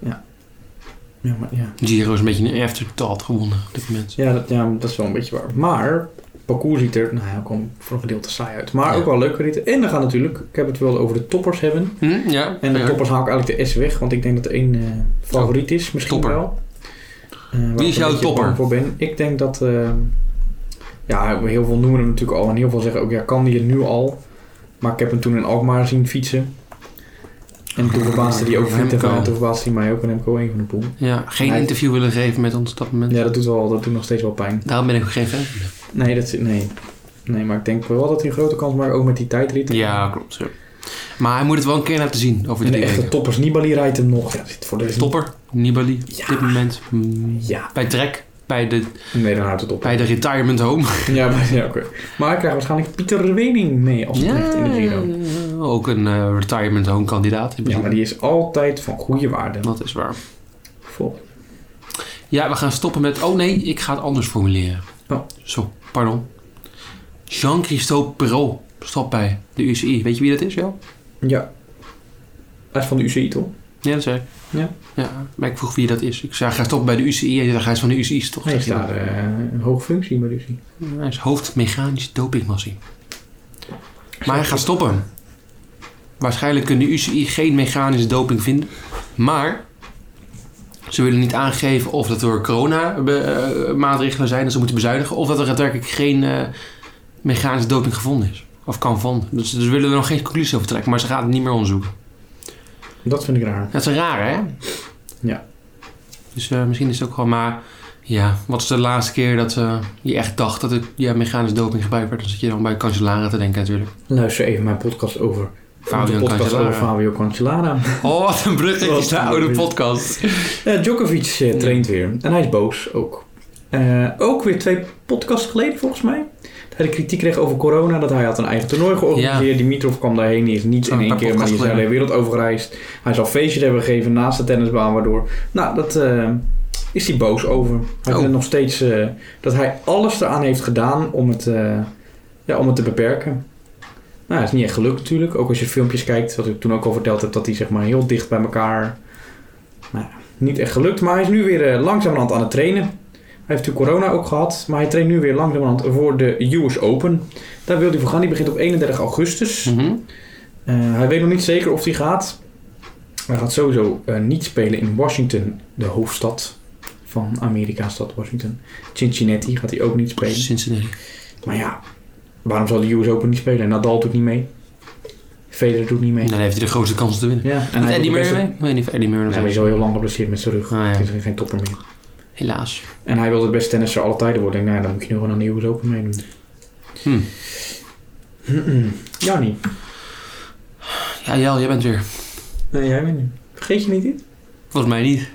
C: Ja, maar ja.
A: Giro is een beetje een afterthought gewonnen op dit moment.
C: Ja, dat, ja, dat is wel een beetje waar. Maar het parcours ziet er, nou ja, kwam voor een gedeelte saai uit. Maar
A: Ja.
C: ook wel leuke ritten. En dan gaan natuurlijk, ik heb het wel over de toppers hebben.
A: Hm? Ja,
C: En de
A: ja. Oh.
C: toppers haal ik eigenlijk de S weg, want ik denk dat er één eh, favoriet is, misschien
A: Topper.
C: wel. Eh, waar
A: Wie is
C: ik
A: jouw
C: een beetje
A: topper?
C: bang Voor ben. Ik denk dat, eh, ja, heel veel noemen hem natuurlijk al en heel veel zeggen ook, ja, kan die het nu al? Maar ik heb hem toen in Alkmaar zien fietsen. En toen verbaasde die ook
A: Remco.
C: niet en toen verbaasde hij mij ook en Remco één van de poel.
A: Ja, geen
C: Nee.
A: interview willen geven met ons op dat moment.
C: Ja, dat doet, wel, dat doet nog steeds wel pijn.
A: Daarom ben ik ook geen fan. van hem.
C: Nee, dat, nee. nee, maar ik denk wel dat hij een grote kans maakt, ook met die tijdrit.
A: Ja, klopt. ja. Maar hij moet het wel een keer laten zien over
C: En de
A: drie
C: echte
A: weken.
C: toppers, Nibali rijdt hem nog. Ja, dit voor de
A: Topper. Nibali op dit moment. Mm,
C: Ja.
A: Bij Trek, bij de,
C: Nee, dan houdt het op.
A: bij de retirement home.
C: Ja, maar, ja, oké. maar hij krijgt waarschijnlijk Pieter Wening mee als terecht in de Giro.
A: eh, ook een eh, retirement home kandidaat. in
C: Ja,
A: principe.
C: maar die is altijd van goede waarde.
A: Dat is waar.
C: Volg.
A: Ja, we gaan stoppen met... Oh nee, ik ga het anders formuleren.
C: Oh.
A: Zo, pardon. Jean-Christophe Perrault stopt bij de UCI. Weet je wie dat is, Jo?
C: Ja. Hij is van de UCI, toch?
A: Ja, dat zei ik.
C: Ja.
A: ja. Maar ik vroeg wie dat is. Ik zei, hij gaat stoppen bij de UCI. En hij is van de UCI, toch?
C: Hij is
A: Zegt hij
C: daar eh, een hoge functie bij de UCI.
A: dan. Hij is hoofdmechanisch dopingmassie. Maar hij gaat stoppen. Waarschijnlijk kunnen de UCI geen mechanische doping vinden. Maar ze willen niet aangeven of dat door corona-maatregelen zijn dat ze moeten bezuinigen. Of dat er daadwerkelijk geen eh, mechanische doping gevonden is. Of kan van. Dus ze willen er nog geen conclusie over trekken. Maar ze gaan het niet meer onderzoeken.
C: Dat vind ik raar.
A: Dat is raar, hè?
C: Ja.
A: Dus eh, misschien is het ook gewoon maar... Ja, wat is de laatste keer dat eh, je echt dacht dat het ja, mechanisch doping gebruikt werd? Dan zit je dan bij Cancellara te denken natuurlijk.
C: Luister even mijn podcast over.
A: Fabio
C: de podcast
A: Cancellara.
C: over Fabio Cancellara.
A: Oh, wat een bruggetje
C: Wat
A: is de
C: een
A: oude
C: bruggetje.
A: podcast.
C: Eh, Djokovic eh, traint weer. En hij is boos ook. Eh, ook weer twee podcasts geleden volgens mij. Dat hij de kritiek kreeg over corona. Dat hij had een eigen toernooi georganiseerd. Dimitrov kwam daarheen. Die is niet
A: Zo'n
C: in één
A: paar
C: keer, maar die is de
A: podcasts
C: hele wereld overgereisd. Hij zal feestjes hebben gegeven naast de tennisbaan. Waardoor... Nou, dat eh, is hij boos over. Hij
A: Oh.
C: vindt nog steeds eh, dat hij alles eraan heeft gedaan om het, eh, ja, om het te beperken. Nou, het is niet echt gelukt natuurlijk. Ook als je filmpjes kijkt, wat ik toen ook al verteld heb, dat die zeg maar heel dicht bij elkaar. Nou, ja, niet echt gelukt, maar hij is nu weer eh, langzamerhand aan het trainen. Hij heeft natuurlijk corona ook gehad, maar hij traint nu weer langzamerhand voor de US Open. Daar wil hij voor gaan. Die begint op 31 augustus.
A: Mhm.
C: Eh, hij weet nog niet zeker of hij gaat. Hij gaat sowieso eh, niet spelen in Washington, de hoofdstad van Amerika, stad Washington. Cincinnati gaat hij ook niet spelen.
A: Cincinnati.
C: Maar ja, waarom zal de US Open niet spelen? Nadal doet niet mee. Federer doet niet mee.
A: Dan heeft hij de grootste kans te winnen.
C: Ja, en
A: En
C: hij
A: Eddie
C: doet best-
A: Murray mee? Nee, niet of Eddie Murray. nog
C: Ja, maar hij is
A: mee.
C: al heel lang geblesseerd met zijn rug.
A: Ah, ja.
C: Het is geen topper meer.
A: Helaas.
C: En hij wil de beste tennisser alle tijden worden. Ik denk, nou, dan moet je nu gewoon aan de US Open meedoen.
A: Hm.
C: Mm-mm. Ja, niet.
A: Ja, Jel, jij bent weer.
C: Nee, jij bent niet. Vergeet je niet dit?
A: Volgens mij niet.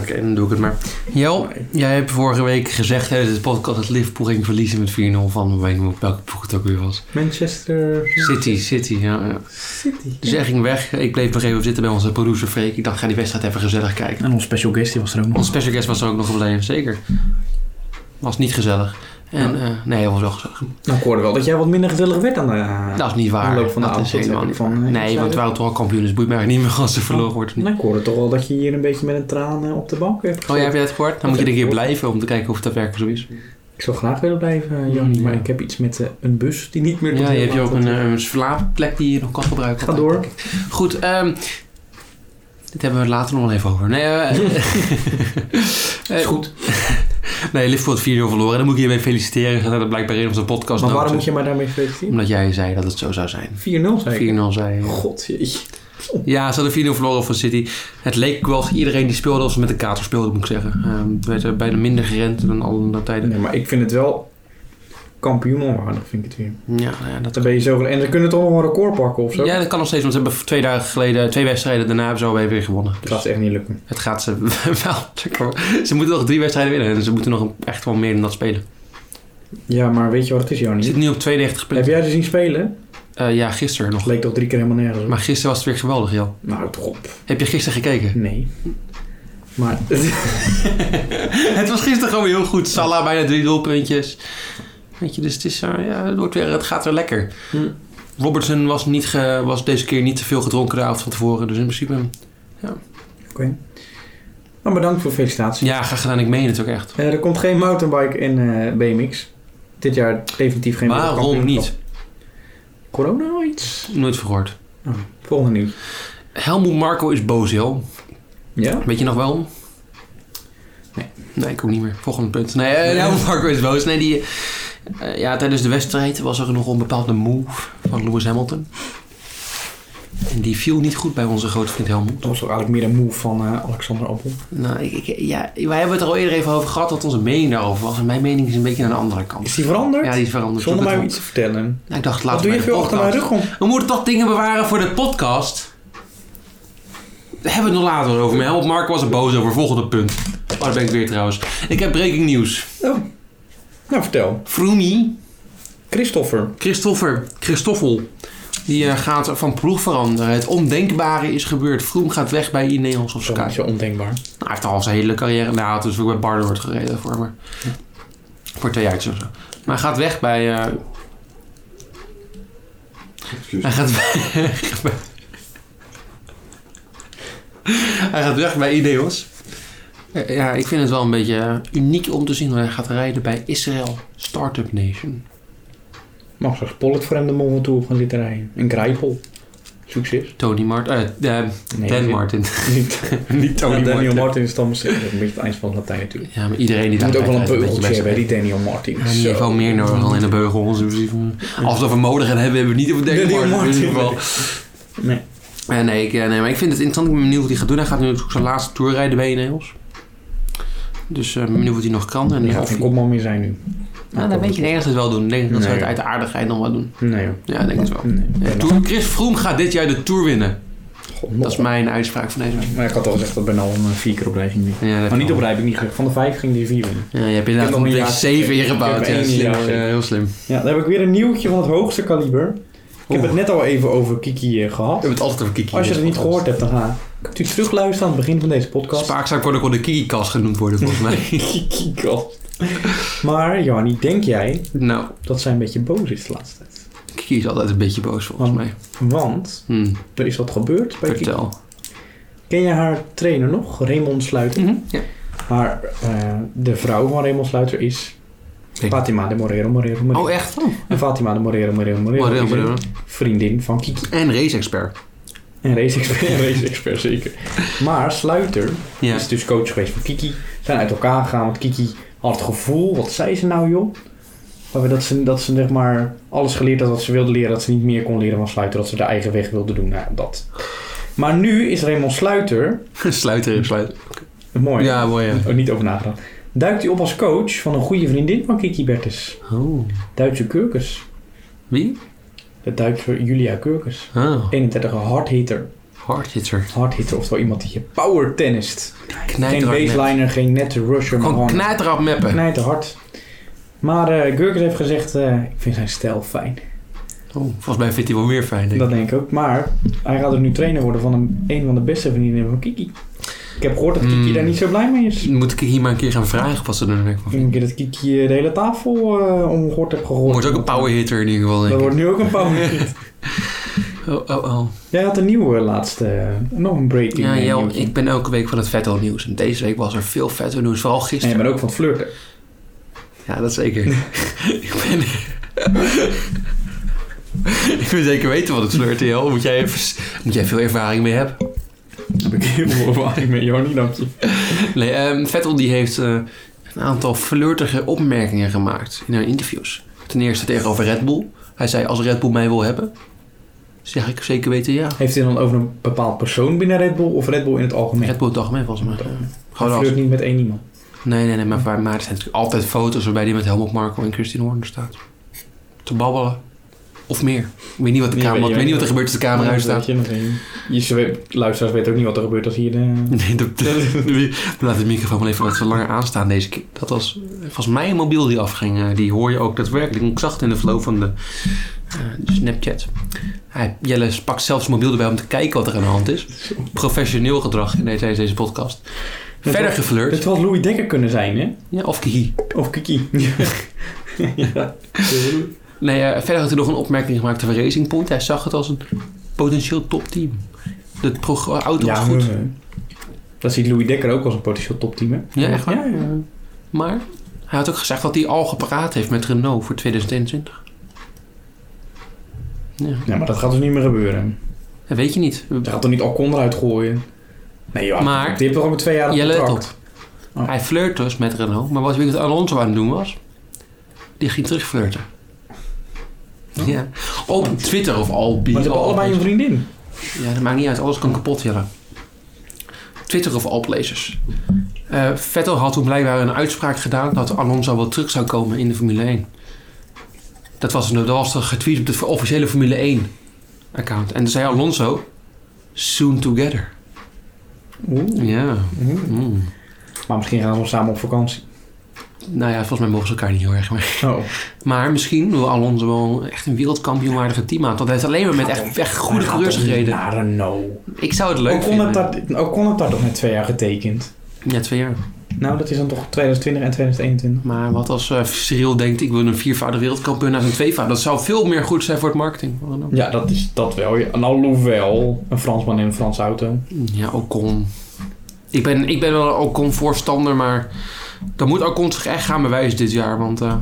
A: Oké, dan doe ik het maar. Jel,
C: Nee.
A: jij hebt vorige week gezegd tijdens de podcast dat Liverpool ging verliezen met 4-0 van, weet niet welke ploeg het ook weer was.
C: Manchester
A: City, City, ja. ja.
C: City.
A: Dus hij ging weg. Ik bleef nog even zitten bij onze producer Freek. Ik dacht, ga die wedstrijd even gezellig kijken.
C: En ons special guest die was er ook nog.
A: Onze special guest was er ook nog gebleven, zeker. Was niet gezellig. En, eh, nee, hij was wel gezellig.
C: Nou, ik hoorde wel dat jij wat minder gezellig werd aan de
A: Dat is niet waar.
C: aanloop van de
A: dat is
C: avond.
A: helemaal
C: heb
A: niet
C: ik van, eh,
A: Nee, want we
C: zeiden.
A: waren toch al kampioen, dus het boeit mij eigenlijk niet meer als er verloren wordt of niet.
C: Nou, ik hoorde toch wel dat je hier een beetje met een traan eh, op de bank hebt
A: Oh, jij hebt het gehoord? Dan moet je er een keer
C: Dat heb ik
A: blijven om te kijken of het daadwerkelijk zo is.
C: Ik zou graag willen blijven, eh, Jan,
A: Mm, Ja.
C: maar ik heb iets met eh, een bus die niet meer... tot
A: Ja,
C: heel
A: je hebt je
C: laat
A: ook een,
C: tot-
A: eh, een slaapplek die je nog kan gebruiken.
C: Ga door.
A: Goed, ehm, dit hebben we het later nog wel even over. Nee,
C: <laughs>
A: eh, eh,
C: Is goed.
A: Nee, Liverpool had 4-0 verloren. En dan moet ik je mee feliciteren. Ze hadden blijkbaar in onze podcast
C: Maar waarom
A: notes.
C: moet je mij daarmee feliciteren? 4-0
A: Omdat jij zei dat het zo zou zijn. 4-0
C: zei ik.
A: zei je.
C: God, jeetje.
A: Ja, ze hadden 4-0 verloren van City. Het leek wel iedereen die speelde als ze met de kater speelden, moet ik zeggen. Ehm het werd er bijna minder gerend dan alle andere tijden.
C: Nee, maar ik vind het wel kampioenonwaardig, vind ik het weer.
A: Ja, nou ja, dat...
C: Dan ben je zo... En dan kunnen we toch nog een record pakken of zo?
A: ja, dat kan nog steeds. Want ze hebben twee dagen geleden, twee wedstrijden daarna hebben ze alweer weer gewonnen.
C: Dat
A: Dus
C: gaat echt niet lukken.
A: het gaat ze <laughs> wel lukken. Ze moeten nog drie wedstrijden winnen. En ze moeten nog echt wel meer dan dat spelen.
C: Ja, maar weet je wat het is,
A: Ze
C: Jan?
A: zitten nu op 92
C: Heb
A: punten.
C: jij ze zien spelen?
A: Eh, ja, gisteren nog.
C: Het leek toch drie keer helemaal nergens op?
A: Maar gisteren was het weer geweldig, Jan.
C: Nou, toch op.
A: Heb je gisteren gekeken?
C: Nee. Maar... <laughs>
A: <laughs> Het was gisteren gewoon weer heel goed. Salah bijna drie doelpuntjes. Weet je, dus het, is, eh, ja, het, wordt weer, het gaat weer lekker.
C: Hm.
A: Robertson was, niet ge- was deze keer niet te veel gedronken de avond van tevoren. Dus in principe...
C: Oké. Nou, bedankt voor de felicitaties.
A: Ja, graag gedaan. Ik meen het ook echt.
C: Eh, er komt geen mountainbike in eh, BMX. Dit jaar definitief geen
A: Waarom
C: wereldkampioenschap.
A: niet?
C: Corona of iets?
A: Nooit verhoord.
C: Oh, volgende nieuws.
A: Helmoet Marco is boos, joh.
C: Ja?
A: Weet je nog wel?
C: Nee.
A: Nee, ik ook niet meer. Volgende punt. Nee, eh, Helmoet <laughs> Marco is boos. Nee, die... eh, ja, tijdens de wedstrijd was er nog een bepaalde move van Lewis Hamilton. En die viel niet goed bij onze grote vriend Helmoet.
C: Dat was toch eigenlijk meer een move van eh, Alexander Appel.
A: Nou, ik, ik- ja, wij hebben het er al eerder even over gehad wat onze mening daarover was. En mijn mening is een beetje aan de andere kant.
C: Is die veranderd?
A: Ja, die is veranderd.
C: Zonder
A: Ik
C: mij
A: heb
C: iets te vertellen.
A: het- Nou, ik dacht,
C: Wat
A: laten
C: doe
A: we
C: je
A: bij de
C: veel achter mijn
A: podcast.
C: rug om?
A: We moeten toch dingen bewaren voor de podcast? Daar hebben we het nog later over. Maar help, Mark was er boos over. Volgende punt. Oh, daar ben ik weer trouwens. Ik heb breaking news.
C: Oh. Nou, vertel.
A: Froomey,
C: Christopher.
A: Christoffer, Christoffel, die eh, gaat van ploeg veranderen. Het ondenkbare is gebeurd. Vroom gaat weg bij Ineos of Sky.
C: Dat is
A: Nou,
C: zo ondenkbaar.
A: hij heeft al zijn hele carrière na. Dus ook bij Barnard gereden voor me. Voor twee jaar of zo. Maar hij gaat weg bij... eh,
B: Excuus.
A: Hij gaat weg bij... hij gaat weg bij Ineos. Eh, Ja, ik vind het wel een beetje eh, uniek om te zien hoe hij gaat rijden bij Israël Startup Nation.
C: Mag ze Pollet voor hem de mond van toe op gaan zitten rijden. Een Grijpel. Succes.
A: Tony Martin. eh eh,
C: Nee,
A: Dan
C: niet-
A: Martin.
C: <laughs>
A: <laughs>
C: Niet.
A: Niet
C: Ja,
A: Tony
C: Daniel
A: Martin.
C: Martin, is dan misschien een beetje het eind van het Latijn natuurlijk.
A: Ja, maar iedereen die
C: Je
A: daar
C: moet ook wel een
A: rijdt, heeft
C: beugeltje
A: beetje
C: hebben,
A: best-
C: die Daniel Martin.
A: Ja, die heeft wel meer nodig dan in de beugel. Als we het over mode gaan hebben, hebben we het niet over Daniel
C: Daniel
A: Martin. In ieder
C: Martin.
A: geval.
C: Nee.
A: Eh, nee, ik, eh, nee, maar ik vind het interessant. Ik ben benieuwd wat hij gaat doen. Hij gaat nu natuurlijk zijn laatste tour rijden bij Ineos. Dus eh, ik ben benieuwd wat hij nog kan. En eh,
C: Er gaat
A: of
C: geen
A: hij-
C: kopman meer zijn nu.
A: Nou, dat weet je nergens het wel doen. Ik denk dat ze
C: Nee.
A: het uit de aardigheid nog wel doen.
C: Nee joh.
A: Ja, ik denk het wel.
C: Nee.
A: Ja, Tour- Chris Froome gaat dit jaar de Tour winnen.
C: God,
A: Dat
C: nog
A: is mijn uitspraak van deze week.
C: Maar ik had al gezegd dat Bernal hem eh, vier keer op rij ging winnen.
A: Ja, dat
C: Maar niet
A: kan.
C: op rij heb ik niet gezegd. Van de vijf ging die vier winnen.
A: Ja, je hebt
C: Ik heb
A: inderdaad
C: nog
A: een
C: een
A: week
C: jaar-
A: 7 ingebouwd.
C: Ik
A: Ja,
C: heb één
A: slim.
C: jaar.
A: Ja, heel slim.
C: Ja, dan heb ik weer een nieuwtje van het hoogste kaliber. Ik heb
A: Oeh.
C: het net al even over Kiki eh,
A: We
C: gehad.
A: hebben het altijd over Kiki.
C: Als je het niet gehoord hebt, dan ga kunt u terugluisteren aan het begin van deze podcast. <laughs>
A: Spaak zou ook wel de Kiki-kast genoemd worden, volgens mij.
C: Kiki-kast. Maar Jannie, denk jij
A: nou,
C: dat zij een beetje boos is de laatste tijd?
A: Kiki is altijd een beetje boos, volgens
C: Want-
A: mij.
C: Want
A: Hm,
C: er is wat gebeurd bij Kiki.
A: vertel.
C: Ken je haar trainer nog? Raymond Sluiter.
A: Mhm, ja.
C: Haar, eh, de vrouw van Raymond Sluiter is
A: Nee.
C: Fatima de Morero Morero Morero.
A: Oh, echt? Oh,
C: En Fatima de Morero Morero Morero
A: wat heel
C: is een
A: bedoel.
C: vriendin van Kiki.
A: En race-expert.
C: En race-expert. En race-expert, zeker. Maar Sluiter
A: Ja.
C: is dus coach geweest van Kiki. Zijn uit elkaar gegaan, want Kiki had het gevoel, wat zei ze nou joh? Maar Dat ze, dat ze zeg maar alles geleerd had wat ze wilde leren, dat ze niet meer kon leren van Sluiter, dat ze de eigen weg wilde doen. Nou, dat. Maar nu is Raymond Sluiter,
A: <laughs> Sluiter, sluiter.
C: mooi,
A: Ja, mooi, ja.
C: ook niet over nagedacht, duikt hij op als coach van een goede vriendin van Kiki Bertens,
A: Oh.
C: Duitse Kurkus.
A: Wie?
C: De Duitse Julia Kurkus.
A: Oh,
C: 31 hardhitter.
A: hardhitter.
C: Hardhitter, oftewel iemand die je power tennist. Geen
A: Knijterhard mappen.
C: baseliner, geen nette rusher, maar
A: Gewoon
C: gewoon
A: knijterhard mappen.
C: knijten hard. Maar eh Gurkes heeft gezegd, eh, ik vind zijn stijl fijn.
A: Oh, volgens mij vindt hij wel meer fijn, denk ik.
C: Dat denk ik ook. Maar hij gaat er nu trainer worden van een, een van de beste vriendinnen van Kiki. Ik heb gehoord dat Kiki
A: Hmm.
C: daar niet zo blij mee is.
A: Moet ik hier maar een keer gaan vragen wat ze er nou van
C: Ik denk een keer dat Kiki eh, de hele tafel eh omgehoord heeft gegooid.
A: Wordt ook een power hitter in ieder geval,
C: Dat
A: denk ik.
C: wordt nu ook een
A: <laughs>
C: power. <laughs>
A: Oh, oh, oh.
C: Jij had een nieuwe laatste, eh, nog een breaking.
A: Ja,
C: eh,
A: Jel,
C: nieuwtje.
A: ik ben elke week van het Vettel nieuws. En deze week was er veel Vettel nieuws, vooral
C: En je
A: gisteren.
C: bent ook van het flirten.
A: Ja, dat zeker. <laughs> ik ben... <laughs> ik wil zeker weten wat het flirt is, Jel. Moet jij, even... Moet jij veel ervaring mee hebben?
C: <laughs> Heb ik <laughs> heel veel ervaring met Jorni, dank je.
A: Nee, ehm, Vettel die heeft eh, een aantal flirtige opmerkingen gemaakt in haar interviews. Ten eerste tegenover Red Bull. Hij zei, als Red Bull mij wil hebben, zeg ik zeker weten ja.
C: Heeft hij dan over een bepaald persoon binnen Red Bull of Red Bull in het algemeen?
A: Red Bull toch mee volgens mij. Gewoon
C: Hij
A: als...
C: flirt niet met één iemand.
A: Nee, nee, nee, maar, maar er zijn natuurlijk altijd foto's waarbij die met Helmut Marko en Christine Horner staat. Te babbelen. Of meer. Ik weet niet wat, de
C: Nee,
A: camera,
C: weet
A: ik
C: je
A: weet niet
C: wel.
A: wat er gebeurt als de camera uit staat.
C: Je, nog één. je zwe- luisteraars weten ook niet wat er gebeurt als hier eh, de...
A: Nee, dat, <laughs> laat de microfoon maar even wat langer aanstaan deze keer. Dat was volgens mij een mobiel die afging. eh, Die hoor je ook daadwerkelijk. Ik zag het in de flow van de eh, Snapchat. Hij, Jelle pakt zelfs zijn mobiel erbij om te kijken wat er aan de hand is. Professioneel gedrag in deze, tijdens deze podcast.
C: Dat
A: Verder
C: was-
A: geflirt.
C: <laughs> Het had Louis Dekker kunnen zijn, hè?
A: Ja, of kihi.
C: Of <laughs> Kiki. ja.
A: Nee, eh, verder had hij nog een opmerking gemaakt over Racing Point. Hij zag het als een potentieel topteam. De prog- auto was
C: ja,
A: goed.
C: goed. eh, Dat ziet Louis Dekker ook als een potentieel topteam, hè?
A: Ja, echt waar?
C: Ja, ja.
A: Maar hij had ook gezegd dat hij al gepraat heeft met Renault voor 2021. Ja,
C: Ja, maar dat gaat dus niet meer gebeuren.
A: dat weet je niet.
C: Ze gaat toch niet Alcon eruit gooien? Nee, joh.
A: Maar-
C: Die heeft toch ook Oh. een twee jaar
A: Jelle,
C: contract?
A: let Hij flirt dus met Renault, maar wat weet wat Alonso aan het doen was? Die ging terugflirten. Ja. Op Twitter of Albi.
C: Oh. Maar ze hebben allebei een vriendin.
A: Ja, dat maakt niet uit. Alles kan kapot, Jelle. Twitter of Alplezers. Eh Vettel had toen blijkbaar een uitspraak gedaan dat Alonso wel terug zou komen in de Formule 1. Dat was, dat was er getweet op de officiële Formule 1 account. En toen zei Alonso, soon together.
C: Oeh.
A: Ja.
C: Oeh.
A: Mm.
C: Maar misschien gaan we samen op vakantie.
A: Nou ja, volgens mij mogen ze elkaar niet heel erg. Maar,
C: Oh.
A: maar misschien wil Alonso wel echt een wereldkampioenwaardige team aan. Want hij heeft alleen maar met echt, echt goede coureurs gereden.
C: I don't know.
A: Ik zou het leuk
C: Ook
A: vinden.
C: kon het daar toch met twee jaar getekend.
A: Ja, twee jaar.
C: Nou, dat is dan toch 2020 en 2021.
A: Maar wat als eh Cyril denkt, ik wil een viervoudig wereldkampioen naar zijn tweevoudig. Dat zou veel meer goed zijn voor het marketing. Wat dan ook.
C: Ja, dat is dat wel. Ja, En alhoewel een Fransman in een Franse auto.
A: Ja, Ocon. Ik ben, ik ben wel een Ocon voorstander, maar dan moet Ocon zich echt gaan bewijzen dit jaar. Want eh,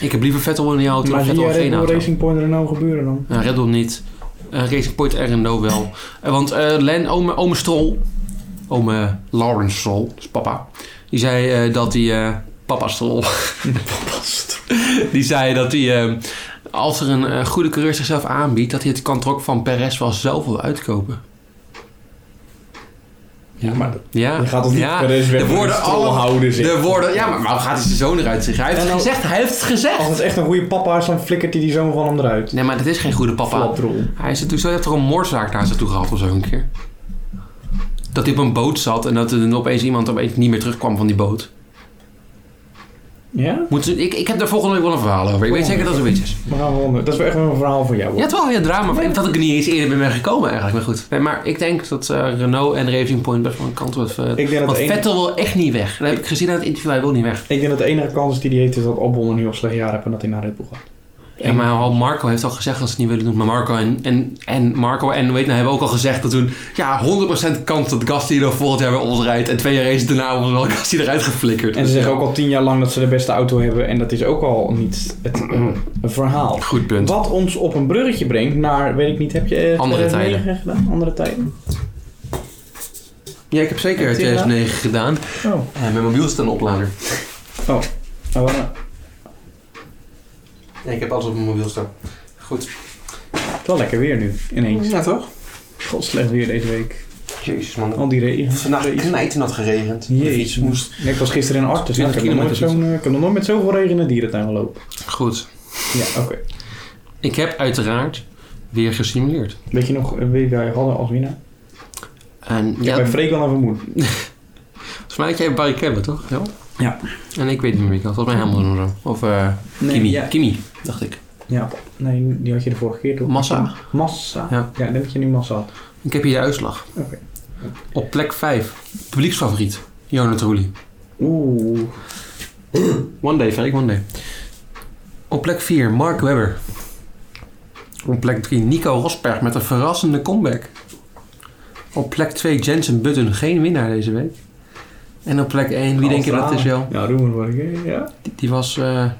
A: ik heb liever Vettel in die auto dan
C: maar zie
A: Vettel in
C: je
A: geen
C: Red Bull
A: auto.
C: Racing Point Renault gebeuren dan?
A: Ja, Nou, Red Bull niet. Eh, Racing Point en Renault wel. Eh, want eh, Len, ome, ome Stroll, ome Lawrence Stroll, dat is papa, die zei eh, dat hij, eh, papa Stroll, <laughs> die zei dat hij, eh, als er een eh, goede coureur zichzelf aanbiedt, dat hij het kantrok van Perez wel zelf wil uitkopen.
C: Ja, maar
A: Ja,
C: je gaat toch niet
A: ja.
C: Perez weg
A: Er
C: met
A: worden
C: een Stroll
A: alle-
C: houden, zeg.
A: er worden, ja, maar waarom gaat hij zijn zoon eruit zeggen? Hij heeft
C: En
A: het
C: dan-
A: gezegd, hij heeft het gezegd.
C: Als het echt een goede papa is, dan flikkert hij die zoon van hem eruit.
A: Nee, maar dat is geen goede papa.
C: Flapdrol.
A: Hij is natuurlijk zo, hij heeft er een moordzaak naar zich toe gehad of zo een keer. Dat hij op een boot zat en dat er dan opeens iemand opeens niet meer terugkwam van die boot.
C: Ja?
A: Moet ze- ik, ik heb daar volgende week wel een verhaal over. Ik weet zeker dat het zoiets is.
C: We gaan wonderen. Dat is wel echt wel een verhaal voor jou. hoor.
A: Ja, het is wel weer een drama. Ik Dat ik er niet eens eerder bij ben gekomen eigenlijk, maar goed. Nee, maar ik denk dat eh, Renault en Racing Point best wel een kant wat... eh,
C: Ik denk dat
A: want
C: de enige-
A: Vettel wil echt niet weg. Dat heb ik gezien aan het interview, hij wil niet weg.
C: Ik denk dat de enige kans die hij heeft is dat Albon een heel slecht jaar heeft en dat hij naar Red Bull gaat.
A: Ja, maar al Marco heeft al gezegd dat ze het niet willen doen. Maar Marco en, en, en Marco en weet nou, hebben ook al gezegd dat toen... Ja, 100% kans dat Gasti er volgend jaar weer oprijdt. En twee jaar races daarna wordt wel Gasti eruit geflikkerd.
C: En ze zeggen ook al tien jaar lang dat ze de beste auto hebben en dat is ook al niet het eh, een verhaal.
A: Goed punt.
C: Wat ons op een bruggetje brengt naar, weet ik niet, heb je eh,
A: Andere
C: 2009 gedaan? Andere tijden?
A: Ja, ik heb zeker
C: Heb je
A: 2009 gedaan.
C: Oh.
A: En mijn mobiel staat een oplader.
C: Oh, eh,
A: ik heb alles op mijn mobiel staan. Goed.
C: het is wel lekker weer nu, ineens.
A: Ja, toch?
C: God, slecht weer deze week.
A: Jezus, man.
C: Al die regen. Regen.
A: knijten had geregend.
C: Jezus, moest... ik was gisteren in Artes. Ik,
A: 20
C: heb nog nooit
A: kilometer.
C: zo'n, eh, ik heb nog nooit met zoveel regen in de dierentuin gelopen.
A: Goed.
C: Ja, oké.
A: Ik heb uiteraard weer gesimuleerd.
C: Weet je nog eh, wie wij hadden als winnaar?
A: En
C: Ik
A: ja,
C: ben Freek wel aan vermoed.
A: volgens mij had jij Barry Kebbe, toch? Ja.
C: Ja.
A: En ik weet niet meer wie ik had. Volgens mij Hamilton of zo. Of eh Kimi.
C: ja.
A: Kimi, dacht ik.
C: ja. Nee, die had je de vorige keer toch?
A: Massa.
C: Massa.
A: Ja.
C: Ja, ik denk dat je nu massa had.
A: Ik heb hier de uitslag.
C: Oké.
A: Op plek 5. Publieksfavoriet. Jonathan Trulli.
C: Oeh.
A: One day, Freek, one day. Op plek 4, Mark Webber. Op plek 3, Nico Rosberg met een verrassende comeback. Op plek 2, Jensen Button. Geen winnaar deze week. En op plek 1, wie denk je dat het is wel?
C: Ja, Roemer word ik, hè? ja.
A: Die, die was eh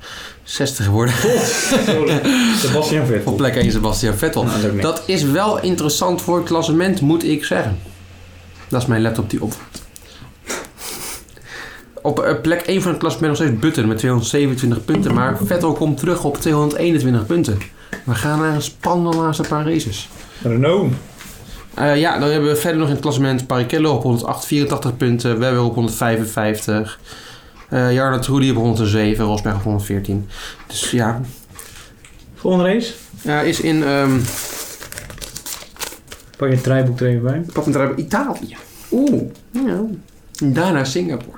A: 60 geworden. <laughs>
C: <laughs> Sorry. Sebastian Vettel.
A: Op plek 1, Sebastian Vettel.
C: Nou, dat is ook niks.
A: Dat is wel interessant voor het klassement, moet ik zeggen. Dat is mijn laptop die op. <laughs> Op eh, plek 1 van het klassement nog steeds Button met 227 punten. Maar Vettel komt terug op 221 punten. We gaan naar een spannende laatste paar races.
C: Renault.
A: Eh, ja, dan hebben we verder nog in het klassement Barrichello op 108, 84 punten. Webber op 155. eh Jarno Trulli op 107. Rosberg op 114. Dus ja,
C: Volgende race.
A: eh, is in ehm
C: Pak je het draaiboek er even bij.
A: Pak hem eruit bij Italië. Oeh. Ja. Daarna Singapore.